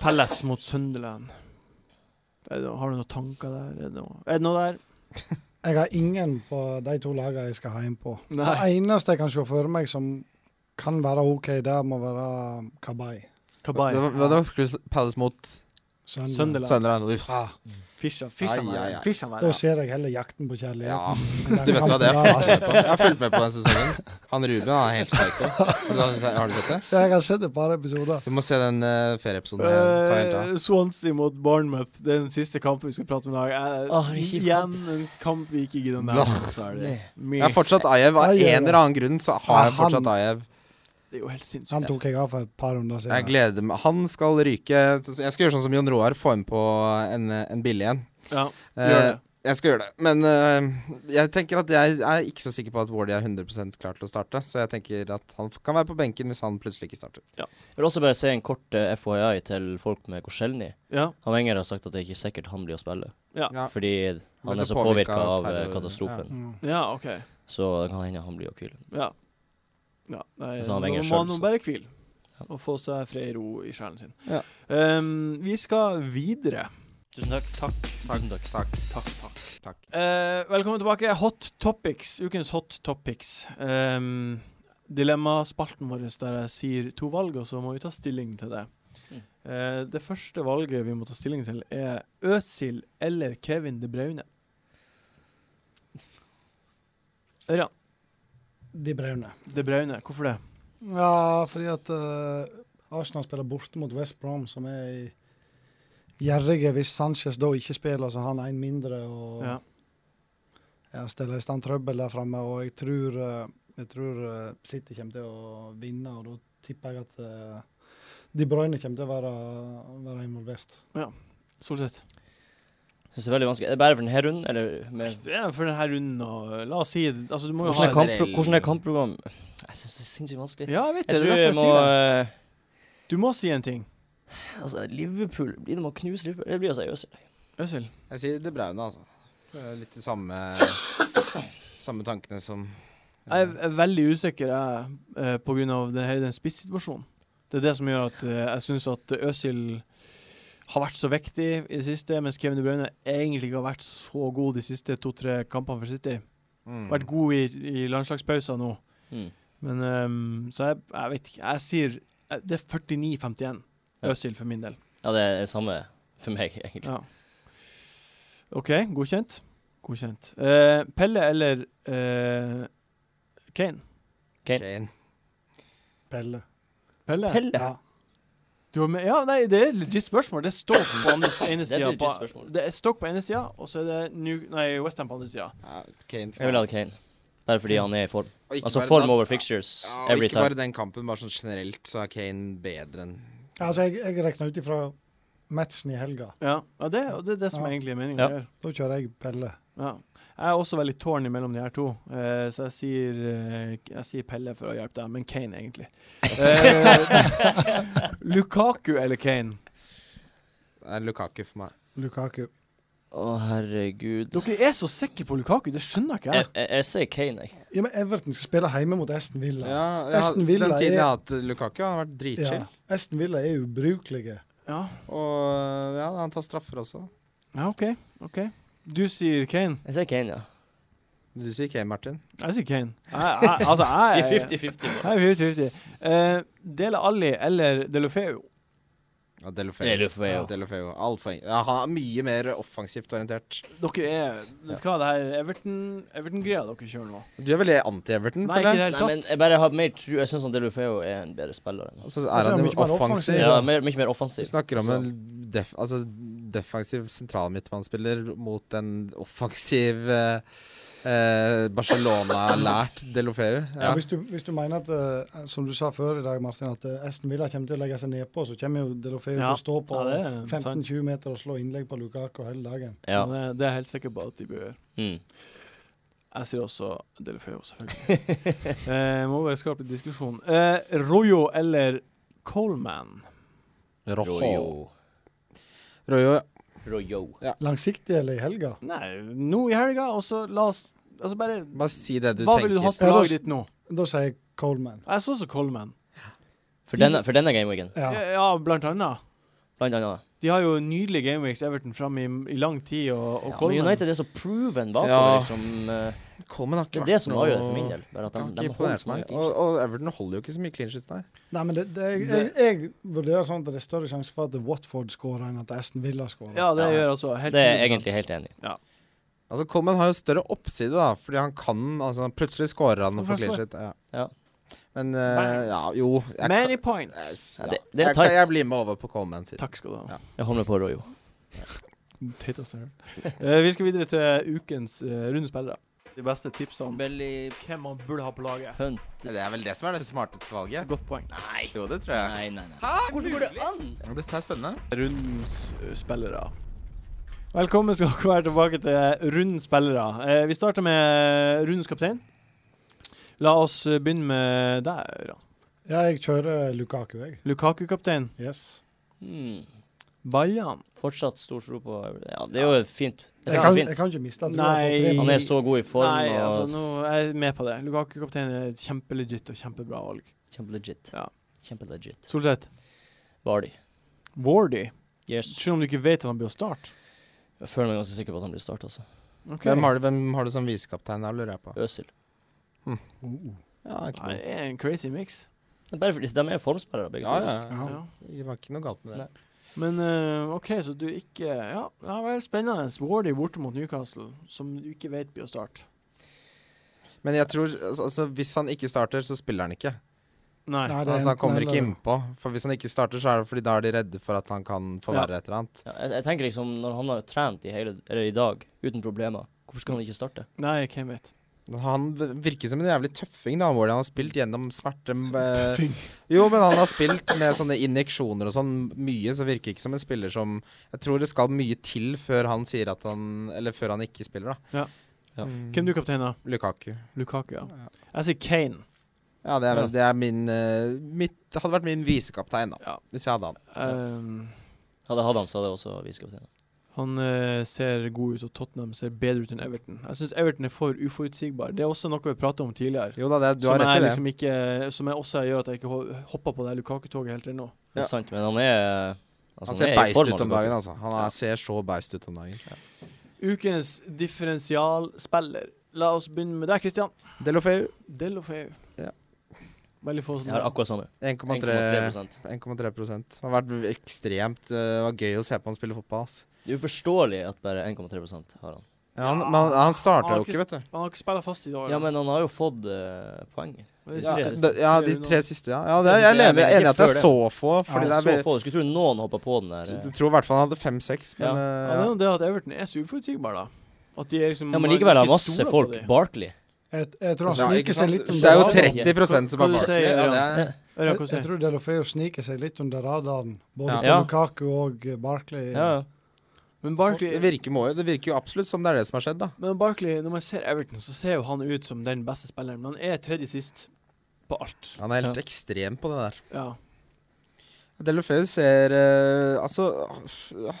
Palace mot Sunderland. Er det noe, har du noen tanker der? Er det noe, er det noe der? Jeg har ingen på de to lagene jeg skal ha inn på. Det Nei. eneste jeg kan se for meg som kan være OK der, må være Kabay. Kabay. Det var, det var Crystal Palace mot Sunderland. Sunderland. Sønderland Uff. ah, Ja, Fischer. Ai, ai, ai. Fischer da ser jeg heller 'Jakten på kjærligheten'. Ja. enn den Du vet hva kampen det er? der, Jeg altså. har fulgt med på den sesongen. Han Ruben han er helt psycho. Har du- Har du sett det? Ja, Jeg har sett et par episoder. Du må se den eh, ferieepisoden. igjen. Ta helt av. Eh, Swansea mot Bournemouth. Det er den siste kampen vi skal prate om i dag. Eh, Åh, det er kjip igjen en kamp vi ikke gidder å Blah. nevne. Så er det. Jeg har fortsatt Ajev. Av Ajev, ja. en eller annen grunn så har jeg Ja, han- fortsatt Ajev. det er jo helt Han sinnssykt. tok jeg av for et par runder Jeg siden. gleder meg. Han skal ryke. Jeg skal gjøre sånn som Jon Roar, få inn på en, en billig en. Ja, gjør Eh, det. jeg skal gjøre det. Men eh, jeg tenker at jeg er ikke så sikker på at Wardy er 100 klar til å starte. Så jeg tenker at han kan være på benken hvis han plutselig ikke starter. Jeg vil også bare se en kort eh, FYI til folk med Korselny. Ja, Han Wenger har sagt at det er ikke sikkert han blir å spille, ja. Ja. fordi Men han er så så påvirka påvirket av eh, terror- katastrofen. Mm. ja OK. Så det kan hende han blir å hvile. Ja. ja nei, Så nå han må Wenger selv, han så. bare hvile Ja. og få seg fred i ro i sjelen sin. Ja. Ehm, vi skal videre. Tusen takk. Takk. Tusen takk. Takk, takk. Takk. Eh, velkommen tilbake. Hot topics. Ukens hot topics. Um, dilemmaspalten vår der jeg sier to valg, og så må vi ta stilling til det. Mm. Eh, det første valget vi må ta stilling til, er Øsil eller Kevin De Braune. Ørjan, De braune. De Braune, hvorfor det? Ja, fordi at eh, Arsenal spiller borte mot West Brom, som er i- gjerrige hvis Sanchez da ikke spiller, så har han én mindre. og Ja. ja, stiller i stand trøbbel der framme. Og jeg tror, eh, jeg tror eh, City kommer til å vinne, og da tipper jeg at eh, De Bruyne kommer til å være, være involvert. Solseth. Synes det er veldig vanskelig. Er det bare for denne runden, eller mer? Det er for denne runden og La oss si altså, du må jo Hvordan ha er, Generell- kamppro hvordan er kampprogram Jeg syns det er sinnssykt vanskelig. Ja, jeg vet det. Jeg det tror er jeg derfor må jeg sier det. eh, Du må si en ting. Altså, Liverpool Blir det med å knuse Liverpool? Det blir altså Øzil. Øsil. Jeg sier De Braune, altså. Det er Litt de samme, samme tankene som Jeg er- er veldig usikker jeg, eh, på grunn av den, hele den spissituasjonen. Det er det som gjør at eh, jeg syns at Øsil har vært så viktig i det siste, mens Kevin De Bruyne egentlig ikke har vært så god de siste to-tre kampene for City. Mm. Vært god i, i landslagspausen nå, Mm. men ehm, Så jeg, jeg vet ikke. Jeg sier eh, Det er 49-51 Ja. Øsil for min del. Ja, det er det samme for meg, egentlig. Ja. OK, godkjent. Godkjent. Eh, Pelle eller eh, Kane? Kane. Pelle. Pelle? Pelle! Ja. Du har med, ja, nei, det er et legit spørsmål. Det står på andre ene Det er sida. et legit på- spørsmål. Det er Stoke på ene sida, og så er det New, nei, West Ham på andre sida. Ja, Kane altså. Jeg vil ha Kane. Bare fordi han er i form. Og ikke Altså bare form den- over fixtures Ja, og every ikke time. bare den kampen, bare sånn generelt så er Kane bedre enn Altså, jeg, jeg regner ut ifra matchen i helga. Ja, ja det, og det er det som Ja. egentlig er meningen Ja. å gjøre. Da kjører jeg Pelle. Ja. Jeg er også veldig tårn imellom de her to, eh, så jeg sier, eh, jeg sier Pelle for å hjelpe deg, men Kane, egentlig. Eh, Lukaku eller Kane? er Lukaku for meg. Lukaku. Å, herregud. Dere er så sikre på Lukaku, det skjønner ikke Jeg, jeg. jeg, jeg sier Kane, jeg. Ja, men Everton skal spille hjemme mot Aston Villa. Ja, jeg, har- Aston Villa den tiden er- jeg har hatt Lukaku, han har vært dritchill. Ja. Aston Villa er ubrukelige. Ja, Og ja, han tar straffer også. ja OK. ok. Du sier Kane. Jeg sier Kane, ja. Du sier Kane, Martin. Jeg sier Kane. Jeg, jeg, altså, jeg, Vi er 50-50. Hei, 50-50. Eh, Dele Alli eller Delofeo? Ja, Delofeo. Deulofeu. Ja, Deulofeu. Alt for- ja, han er mye mer offensivt orientert. Dere er Vet du hva, det her Everton- Everton-greia dere kjører nå. Du er veldig anti-Everton, Nei, ikke i føler det jeg. Nei, hele men tatt. jeg bare har mer tru Jeg syns Delufeo er en bedre spiller enn Og han. Altså, så Og så er han er jo han mye mer offensiv. offensiv. Ja, mer, mye mer Du offensiv. snakker om Så- en def, altså, defensiv sentralmidtbanespiller mot en offensiv eh, eh, Barcelona-lært Delofeu. Ja. Ja. Hvis, du, hvis du mener at, eh, som du sa før i dag, Martin, at eh, Aston Villa kommer til å legge seg nedpå, så kommer jo Delofeu Ja. til å stå på Ja, det er sant. 15-20 meter og slå innlegg på Lukaku hele dagen. Ja. Det, eh, det er jeg helt sikker på at de bør gjøre. Mm. Jeg sier også Delofeo, selvfølgelig. eh, må bare skape litt diskusjon. Eh, Rojo eller Coleman? Rojo. Rojo. Rojo. Rojo. Langsiktig eller i helga? Nei, nå i helga, og så la oss Altså bare Bare si det du Hva ville du hatt tenker. på Ja, da s- laget ditt nå? Da sier jeg Coleman. Jeg så også Coleman. For denne, for denne gameweeken, Ja. Ja. blant annet. blant annet. De har jo nydelige Gameweeks Everton fram i, i lang tid, og, og Ja, men Coleman United er så proven bakover, Ja. liksom. eh, Coleman har Det ikke er det vært som noe- avgjør det for min del. Bare at Har de, ikke de holder imponert så mange meg. clean Og, sheets. og Everton holder jo ikke så mye clean sheets, nei. Nei, men det, det, jeg, jeg, jeg vurderer sånn at det er større sjanse for at Watford skårer enn at Aston Villa skårer. Ja, det Ja. gjør altså helt Det er jeg 100%. egentlig helt enig i. Altså, Coleman har jo større oppside, da, fordi han kan altså, Plutselig scorer han og Hvorfor får clean scorer? sheet. Ja. Ja. Men eh, ja, jo jeg Many kan, points. ja. det- det er jeg, kan- tight. jeg blir med over på Coleman sitt. Takk skal du ha. Ja. Jeg holder med på Rojo. Titt og større. Eh, vi skal videre til ukens eh, runde spillere. De beste tipsene Belly hvem man burde ha på laget. Hunt Det er vel det som er det smarteste valget. Godt poeng. Nei. Jo, det tror jeg. Nei, nei, nei. Hvordan går det an? Dette er spennende. Rundens eh, spillere. Velkommen skal dere være tilbake til rundens spillere. Eh, vi starter med eh, rundens kaptein. La oss eh, begynne med deg, Ørjan. Ja, jeg kjører Lukaku, jeg. Lukaku-kaptein. Yes. Hmm. Baljan. Fortsatt stor tro på Ja, det er jo fint. Det Jeg er så kan, jeg fint. kan ikke miste troa på Nei. tre Han er så god i form Nei, altså, og nå er jeg med på det. Lukaku-kaptein er et kjempelegit og kjempebra valg. kjempelegit. Ja. Kjempelegit. Solseth. Vardy. Wardy. Yes. Selv om du ikke vet at han blir å starte. Jeg føler meg ganske sikker på at han blir start, altså. Hvem, har du, hvem har du som visekaptein? da, lurer jeg på. Øsil. Uh, Ja, ikke Nei, noe. det er en crazy mix. Det er Bare fordi de er formspillere, begge Ja, ja. Ja. Ja. Det var ikke noe galt med det. Nei. Men eh, OK, så du ikke Ja, ja vel, spennende. Wardy borte mot Newcastle, som du ikke vet blir å starte. Men jeg tror altså, altså, hvis han ikke starter, så spiller han ikke. Nei. Nei, det er Altså, han enten kommer ikke eller. innpå. For hvis han ikke starter, så er det fordi da er de redde for at han kan forverre et eller annet. Ja, jeg, jeg tenker liksom, når han har trent i, hele, eller i dag uten problemer, hvorfor skal han ikke starte? Nei, hvem vet. Han virker som en jævlig tøffing, da, hvor han har spilt gjennom smerte eh, Jo, men han har spilt med sånne injeksjoner og sånn mye, så virker ikke som en spiller som Jeg tror det skal mye til før han sier at han Eller før han ikke spiller, da. Ja. Ja. Mm. Hvem du kapteina? Lukaku. Lukaku, ja. Ja. Jeg sier Kane. Ja, det er, Ja. vel- det er min eh, mitt, Det hadde vært min visekaptein, da. Ja. Hvis jeg hadde han. Ehm, Hadde jeg hatt han, så hadde jeg også visekaptein. han eh, ser god ut, og Tottenham ser bedre ut enn Everton. Jeg syns Everton er for uforutsigbar. Det er også noe vi prata om tidligere. Jo da, det, du har som, rett i jeg det. liksom ikke, som jeg også gjør at jeg ikke ho- hopper på det her Lukaku-toget helt til nå. Det Ja. er sant, men han er altså, han ser er i beist form, ut om Lukaku. dagen, altså. Han er, ser så beist ut om dagen. Ukens differensialspiller. La oss begynne med deg, Christian. Delofeu Delofeu. Ja. Veldig få som Jeg har akkurat samme. 1,3 1,3 1,3 prosent. Han har vært ekstremt eh, Det var gøy å se på han spille fotball. ass. Det er uforståelig at bare 1,3 har han. Ja, han, men han, han starta Han har jo ikke, ikke vet du. Han har ikke spilla fast i dag. Ja, men han har jo fått eh, poeng. Men det Ja, siste- d- ja, de nå. tre siste, ja. ja det, jeg er Jeg enig, jeg er enig i at det før er det. så få. Fordi Han det er er så ve- få. Du skulle tro noen hoppa på den der. Så eh. Du tror i hvert fall han hadde fem-seks, men Ja. Ja, det er eh, jo det at Everton er så uforutsigbare, da. At de er liksom Ja, men man likevel har ikke masse stoler på folk. de. Barkley. Jeg, jeg tror han Ja, Altså, ikke sniker seg sant? litt Det er under jo radaren. 30 som Hva er du bak. sier, Ja, det Ørjan? er- Ørjan, Jeg, hva jeg sier du? tror Delofeu sniker seg litt under radaren, både Ja. på Ja. Lukaku og eh, Barkley. Ja, ja. Men Det Barkley, virker, må jo, det virker jo absolutt som det er det som har skjedd, da. men Barkley, når man ser Everton, så ser jo han ut som den beste spilleren. Men han er tredje sist på alt. Han er helt Ja. ekstrem på det der. Ja. Delofeu ser eh, Altså,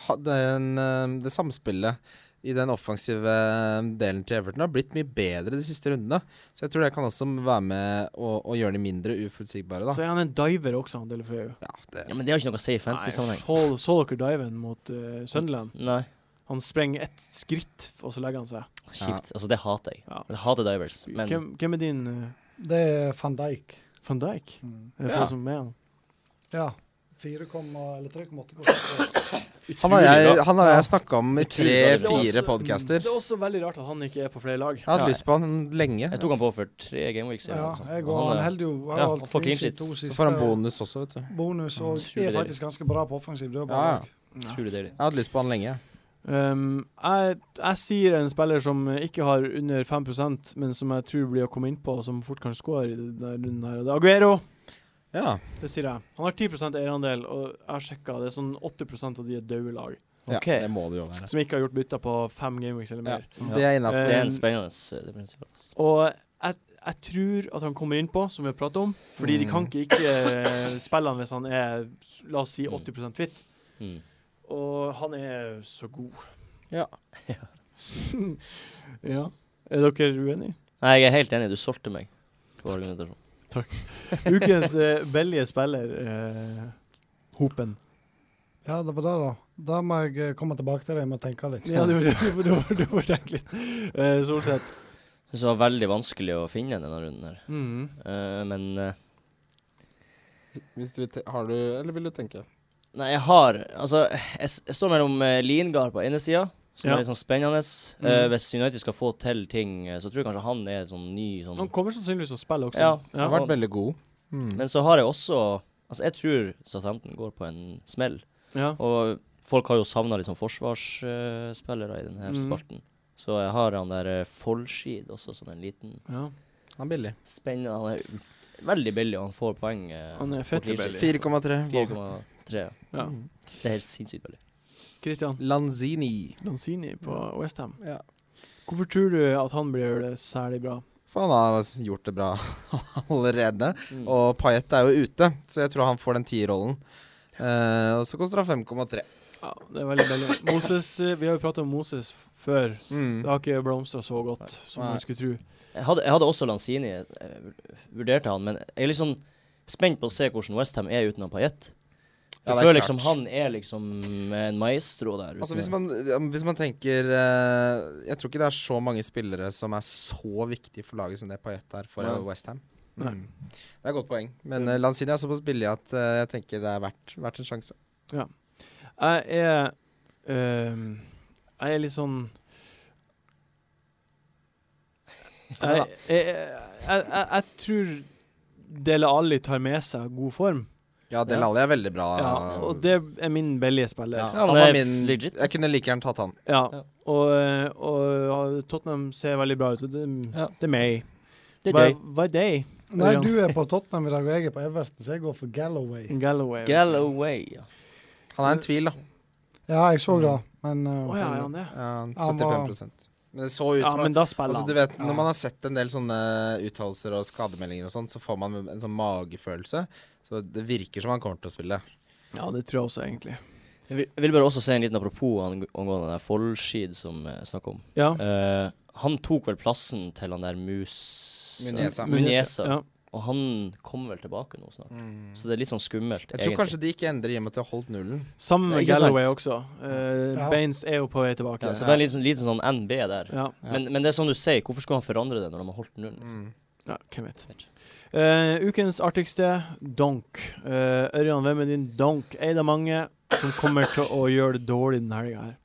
ha- den, eh, det samspillet i den offensive eh, delen til Everton har blitt mye bedre de siste rundene. Så jeg tror det kan også være med å, å gjøre de mindre uforutsigbare, da. Så er han en diver også, han Delefeu. Ja, det, ja, men det har ikke noe å si i fancy sammenheng. så, så dere diven mot eh, Sunderland? Nei. Han sprenger ett skritt, og så legger han seg. Kjipt. Altså, det hater jeg. Ja. Jeg hater divers. Men Hvem, hvem er din eh, Det er van Dijk. van Dijk? Mm. Er det Ja. folk som er med han? Ja. 4,8 eller 3,8 han har jeg, han har jeg snakka om i Utrolig bra. tre-fire podcaster. Det er også veldig rart at han ikke er på flere lag. Jeg har Ja, hatt lyst på han lenge. jeg tok han på for tre gameweeks siden. eller Ja, noe sånt. jeg Og går, han altså. er- holder jo ja, han han får clean sitt to sheets. Så siste får han bonus også, vet du. bonus, og Super er deilig. faktisk ganske bra på offensiv Ja, ja. dødball. Utrolig deilig. Jeg har hatt lyst på han lenge. Um, jeg, jeg sier en spiller som ikke har under 5 men som jeg tror blir å komme innpå, og som fort kan score i denne runden her. og Det er Aguero! Ja. Det sier jeg. Han har 10 eierandel, og jeg har sjekka, det er sånn 80 av de er døde lag. ja, Ok. det må det jo være. Som ikke har gjort bytter på fem gameweeks eller mer. Ja. Det er innafor. Det er Um, en spennende eh, det prinsippet. altså. Og jeg, jeg tror at han kommer innpå, som vi har pratet om, fordi de kan Mm. ikke ikke spille han hvis han er, la oss si, 80 fit. Mm. Og han er så god. Ja. ja. Er dere uenige? Nei, jeg er helt enig. Du solgte meg. På argumentasjon. Ukens uh, billige spiller, eh, Hopen. Ja, det var det, da. Da må jeg eh, komme tilbake til det, jeg må tenke litt. Ja, du får tenke litt. Uh, Eh, Solseth. Synes det var veldig vanskelig å finne denne runden her. Mhm. Eh, men eh, Hvis du, vil te- har du Eller vil du tenke? Nei, jeg har Altså, jeg, s- jeg står mellom uh, Lingard på ene sida, som Ja. er litt sånn spennende. Eh, Mm. hvis United skal få til ting, eh, så tror jeg kanskje han er en sånn ny sånn Han kommer sannsynligvis til å spille også. Ja. Han har Ja. vært veldig god. Mm. Men så har jeg også Altså, jeg tror Southampton går på en smell. Ja. Og folk har jo savna liksom forsvarsspillere i denne Mhm. spalten. Så jeg har han der uh, Follskid også som en liten Ja. Han er billig. spennende Han er u- veldig billig, og han får poeng. eh, Han er på fette clean billig. sheet. 4,3. Wolver- 4,3. ja. ja. Mm. Det er helt sinnssykt billig. Christian Lanzini. Lanzini på Westham. Ja. Hvorfor tror du at han blir gjøre det særlig bra? For han har gjort det bra allerede. Mm. Og Payet er jo ute, så jeg tror han får den tierrollen. Eh, og så koster han 5,3. Ja, det er veldig deilig. Moses, eh, vi har jo prata om Moses f- før. Mm. Det har ikke blomstra så godt som Nei. man skulle tro. Jeg hadde, jeg hadde også Lanzini, jeg vur- vurderte han, men jeg er litt sånn spent på å se hvordan Westham er uten han Payet. Ja, Jeg det er føler klart. liksom han er liksom en maestro der. uten Altså hvis det. man, ja, hvis man tenker eh, Jeg tror ikke det er så mange spillere som er så viktige for laget som det Payet er for Nei. Westham. Nei. Mm. Det er et godt poeng. Men eh, Lanzini er såpass billig at eh, jeg tenker det er verdt, verdt en sjanse. Jeg er ehm, Jeg er litt sånn jeg, jeg, jeg, jeg, jeg tror Dele Alli tar med seg god form, Ja, Del Ja. Alli er veldig bra. ja, og det er min billige spiller. Ja, Ah. Ja. Ja, han det var er min, legit. jeg kunne like gjerne tatt han. Ja. Og, eh, og Tottenham ser veldig bra ut, så det, Ja. det er meg. Det er Hva gøy. hva er det? Nei, Ørjan. du er på Tottenham i dag, og jeg er på Everton, så jeg går for Mm. Galloway. Galloway. vet du. Galloway, ja. Han er en tvil, da. Ja, jeg så det, men uh, Å ja, er han det? Ja, han- Han 75 Men det så ut Ja, som men da spiller altså, du han. vet, Når Ja. man har sett en del sånne uttalelser og skademeldinger, og sånn, så får man en sånn magefølelse. Så det virker som han kommer til å spille. Ja, det tror jeg også, egentlig. Jeg vil- jeg vil bare også si en liten apropos ang angående den der Follskid som jeg snakka om. Ja. Eh, han tok vel plassen til han der Mus... eh, Munesa. Munesa. Ja. Og han kommer vel tilbake nå snart. Mm. Så det er litt sånn skummelt, Jeg tror kanskje de ikke endrer i og med at de har holdt nullen. Sammen Nei, med ikke sant? Galloway også. Eh, Ja. Baines er jo på vei tilbake. ja, Ja, Så det er en liten, liten sånn NB der. ja. Ja. Men, men det er som du sier, hvorfor skulle han forandre det når han har holdt nullen? Mm. hvem vet. Vet ikke. Eh, ukens artigste donk. Eh, Ørjan, hvem er din donk? Er det mange som kommer til å gjøre det dårlig denne helga her?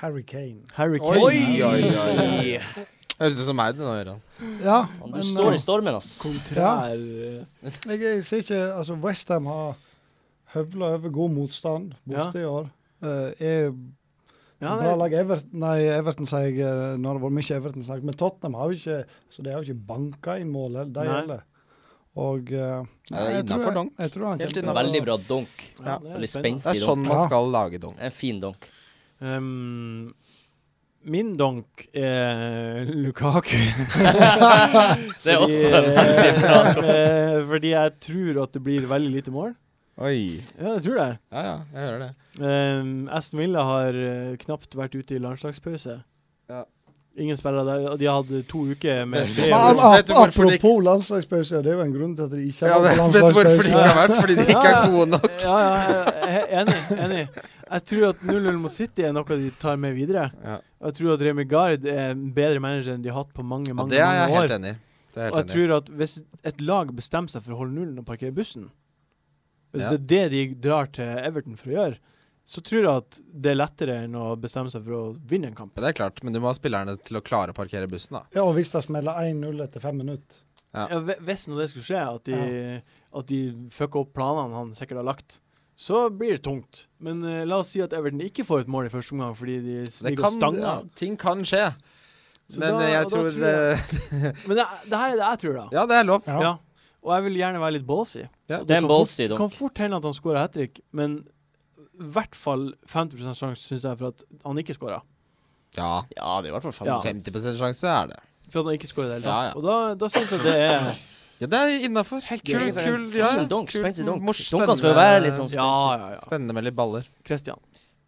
Harry Kane. Harry Oi, Kane. oi, oi. Høres ut som meg, det nå, Gøran. Mm. Ja, Faen, Du men står uh, i stormen, ass. Kontrær eh, jeg, jeg ser ikke Altså, Westham har høvla over god motstand borte i år. Uh, er Ja, bra det, lag Everton Nei, Everton sier jeg uh, Nå har det vært mye Everton-snakk, men Tottenham har jo ikke Så de har jo ikke banka inn mål, heller, de Nei. heller. Og uh, Ja, det er jeg, tror innenfor jeg, dunk. jeg tror han Helt kommer til å- Veldig bra donk. Ja. det er Veldig spennende. Det er spenstig donk. sånn man Ja. skal lage dong. En fin donk. Um, min donk er Lukaku. Det er også en veldig bra. eh, Fordi jeg tror at det blir veldig lite mål. Oi. Ja, jeg tror det. Ja, ja, jeg hører det. Um, Aston Villa har eh, knapt vært ute i landslagspause. Ja. Ingen spillere der. og De har hatt eh, to uker med Men- fri. Ja, Men men vet ap du hvorfor de apropos landslagspause, det er jo en grunn til at de ikke Ja, har vært på vet, vet du hvorfor de landslagspause. ikke har vært? Fordi de ikke er gode nok. Ja, ja, jeg er enig. enig. Jeg tror at 0-0 mot City er noe de tar med videre. Ja. Og jeg tror at Remi Gard er en bedre manager enn de har hatt på mange, Og mange, det er jeg mange år. helt enig i. Det er jeg Og jeg helt enig i. tror at hvis et lag bestemmer seg for å holde nullen og parkere bussen, hvis Ja. det er det de drar til Everton for å gjøre, så tror jeg at det er lettere enn å bestemme seg for å vinne en kamp. Ja, Det er klart, men du må ha spillerne til å klare å parkere bussen, da. Ja, og hvis det smeller 1-0 etter fem minutter. Ja. Ja, hve- hvis nå det skulle skje, at de, at de fucker opp planene han sikkert har lagt, så blir det tungt. Men eh, la oss si at Everton ikke får et mål i første omgang fordi de Det ligger og kan, stanger. ja, ting kan skje. Så Men da- eh, jeg og da tror eh, tror jeg- Men det, det her er det jeg tror, da. Ja, det er lov. Ja. Og jeg vil gjerne være litt ballsy. Det er kan en fort- ballsy Det donk. kan fort hende at han skårer hat trick, men i hvert fall 50 sjanse, syns jeg, for at han ikke skårer. Ja. Ja, det er i hvert fall Ja. 50 50 sjanse er det. For at han ikke skårer i det hele Ja, tatt. ja. Og da, da syns jeg det er Ja, det er innafor. Helt Kul, kul, kul, ja. Fin donk, kul, spenstig donk. mors- Donkene skal jo være litt sånn Ja, spenstig. ja, ja. Spennende med litt baller. Christian.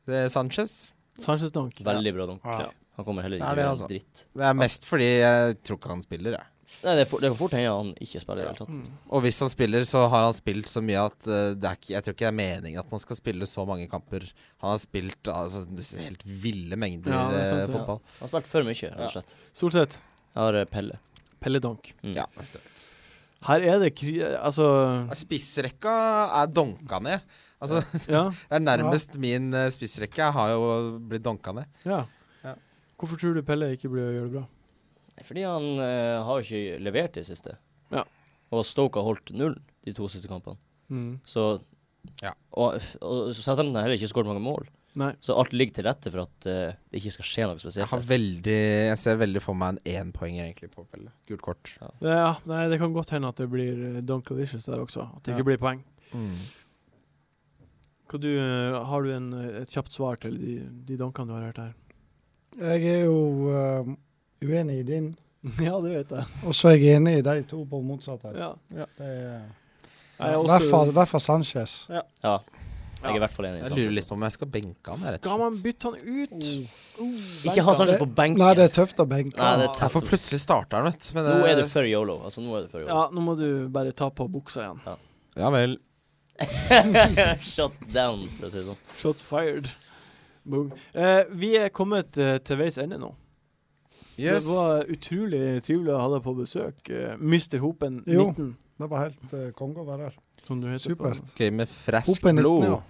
Det er Sanchez. Sanchez Donk. Veldig bra donk. Ja. Han kommer heller Det ikke til å er det, gjøre altså. dritt. Det er mest fordi jeg tror ikke han spiller, jeg. Nei, det, er for, det kan fort hende han ikke spiller i det hele tatt. Og hvis han spiller, så har han spilt så mye at eh, det er ikke, jeg tror ikke det er meningen at man skal spille så mange kamper. Han har spilt altså, helt ville mengder Ja, det er sant, eh, det. fotball. Han har spilt for mye, rett Ja. og slett. Solseth. Jeg har eh, Pelle. Pelle Donk. Mm. Ja, neste. Her er det kri... Altså Spissrekka er donka ned. Altså, Ja. det er nærmest min eh, spissrekke. Jeg har jo blitt donka ned. ja. Ja. Hvorfor tror du Pelle ikke blir å gjøre det bra? Fordi han eh, har jo ikke levert i siste. Ja. Og Stoke har holdt null de to siste kampene. Mm. Så Ja. Og, og Southampton har heller ikke skåret mange mål. Nei. Så alt ligger til rette for at eh, det ikke skal skje noe Jeg, spesielt. har veldig, jeg ser veldig for meg en énpoenger egentlig på Pelle. Gult kort. Det, ja, nei, det kan godt hende at det blir Dunkalicious der også. At det ikke blir poeng. Mm. Hva du, eh, har du en, eh, et kjapt svar til de, de dunkene du har hørt her? Jeg er jo eh, uenig i din, ja, det vet jeg. og så er jeg enig i de to på motsatt her. Ja. Det er, Jeg er I også- hvert fall, i hvert fall Sanchez. Ja. Jeg er i hvert fall enig. i Jeg Sanchez. lurer litt på om jeg skal benke han. jeg, rett Skal og man slett. bytte han ut? Oh. Ikke ha Sanchez på benken. Nei, det er tøft å benke. Nei, det er Jeg får tøft. plutselig starte her, vet du. men eh, Nå det- er du før yolo. Altså, nå er du før yolo. Ja, nå må du bare ta på buksa igjen. Ja vel. Shut down, for å si det sånn. Shots fired. Boom. Eh, vi er kommet eh, til veis ende nå. Yes. Det var utrolig trivelig å ha deg på besøk. eh, Mr. Hopen Jo. 19, Det var helt uh, konge å være her. som du heter. på- Supert. Gøy med freskt Hoppe 19, blod. ja.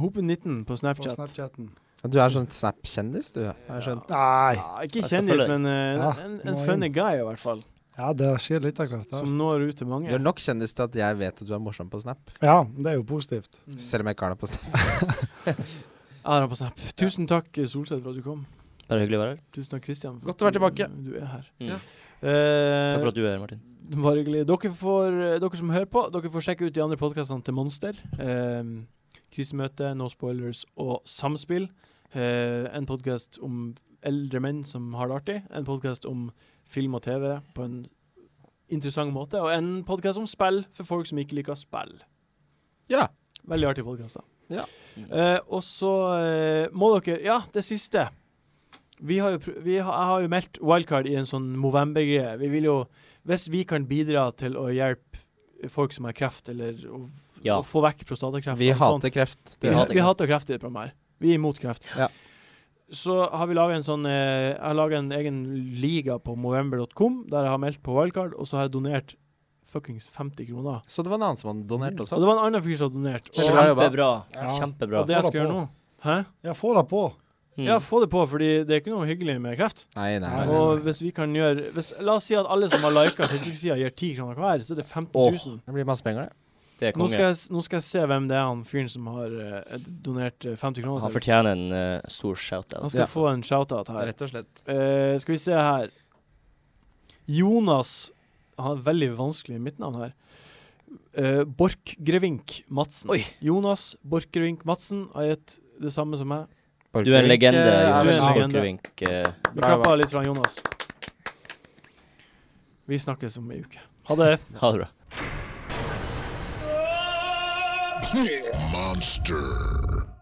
Hopen 19 på På Snapchat. Snapchatten. Ja, Du er sånn Snap-kjendis, du. Jeg har skjønt. Nei. Ja, ikke Jeg skal kjendis, følge deg. men eh, Ja, en, du en må funny guy, i hvert fall. Ja, det skjer litt av hvert. her. Som når ut til Du mange. er nok kjendis til at jeg vet at du er morsom på Snap. Ja, det er jo positivt. Mm. Selv om jeg ikke har deg på Snap. Jeg har han på Snap. Tusen takk, eh, Solseth, for at du kom. Bare hyggelig å være her. Tusen takk, Kristian. Godt å være tilbake. Du, du er her. Mm. Ja. Eh, Takk for at du er her, Martin. Det var hyggelig. Dere, får, eh, dere som hører på, dere får sjekke ut de andre podkastene til Monster. Eh, krisemøte, No Spoilers og Samspill. Eh, en podkast om eldre menn som har det artig. En podkast om film og TV på en interessant måte. Og en podkast om spill for folk som ikke liker spill. Ja. Veldig artige podkaster. Ja. Eh, og så eh, må dere Ja, det siste. Vi har jo, pr- vi har, jeg har jo meldt wildcard i en sånn Movember-greie. Vi vil jo Hvis vi kan bidra til å hjelpe folk som har kreft, eller å, f- Ja. å få vekk prostatakreft Vi og sånt. hater kreft. Vi, Det- hater vi kreft. hater kreft i det programmet her. Vi er imot kreft. Ja. Så har vi laget en sånn eh, Jeg har laget en egen liga på movember.com der jeg har meldt på wildcard, og så har jeg donert fuckings 50 kroner. Så det var en annen som hadde donert også. Mm. Og det var en annen fyr som har donert. Veldig bra jobba. Kjempebra. Ja. Kjempebra. Og det jeg skal Få det gjøre nå Hæ? Ja, få det på. Mm. Ja, få det på, fordi det er ikke noe hyggelig med kreft. Nei, nei, nei, Og nei. hvis vi kan gjøre hvis, La oss si at alle som har lika Facebook-sida, gir 10 kroner hver, så er det 15 000. Det blir masse penger, det. Det er Nå skal, konge. jeg, s- nå skal jeg se hvem det er han fyren som har eh, donert eh, 50 kroner Han til. fortjener en eh, stor shout-out. Han skal Ja. få en shout-out her. Rett og slett. Eh, skal vi se her Jonas Han har veldig vanskelig midtnavn her. Eh, Borchgrevink Madsen. Oi. Jonas Borchgrevink Madsen har gitt det samme som meg. Du er en legende, du er Jonas en legende. Borchgrevink. eh, Vi Bra, klapper litt fra Jonas. Vi snakkes om ei uke. Ha det. Ha det bra. Monster.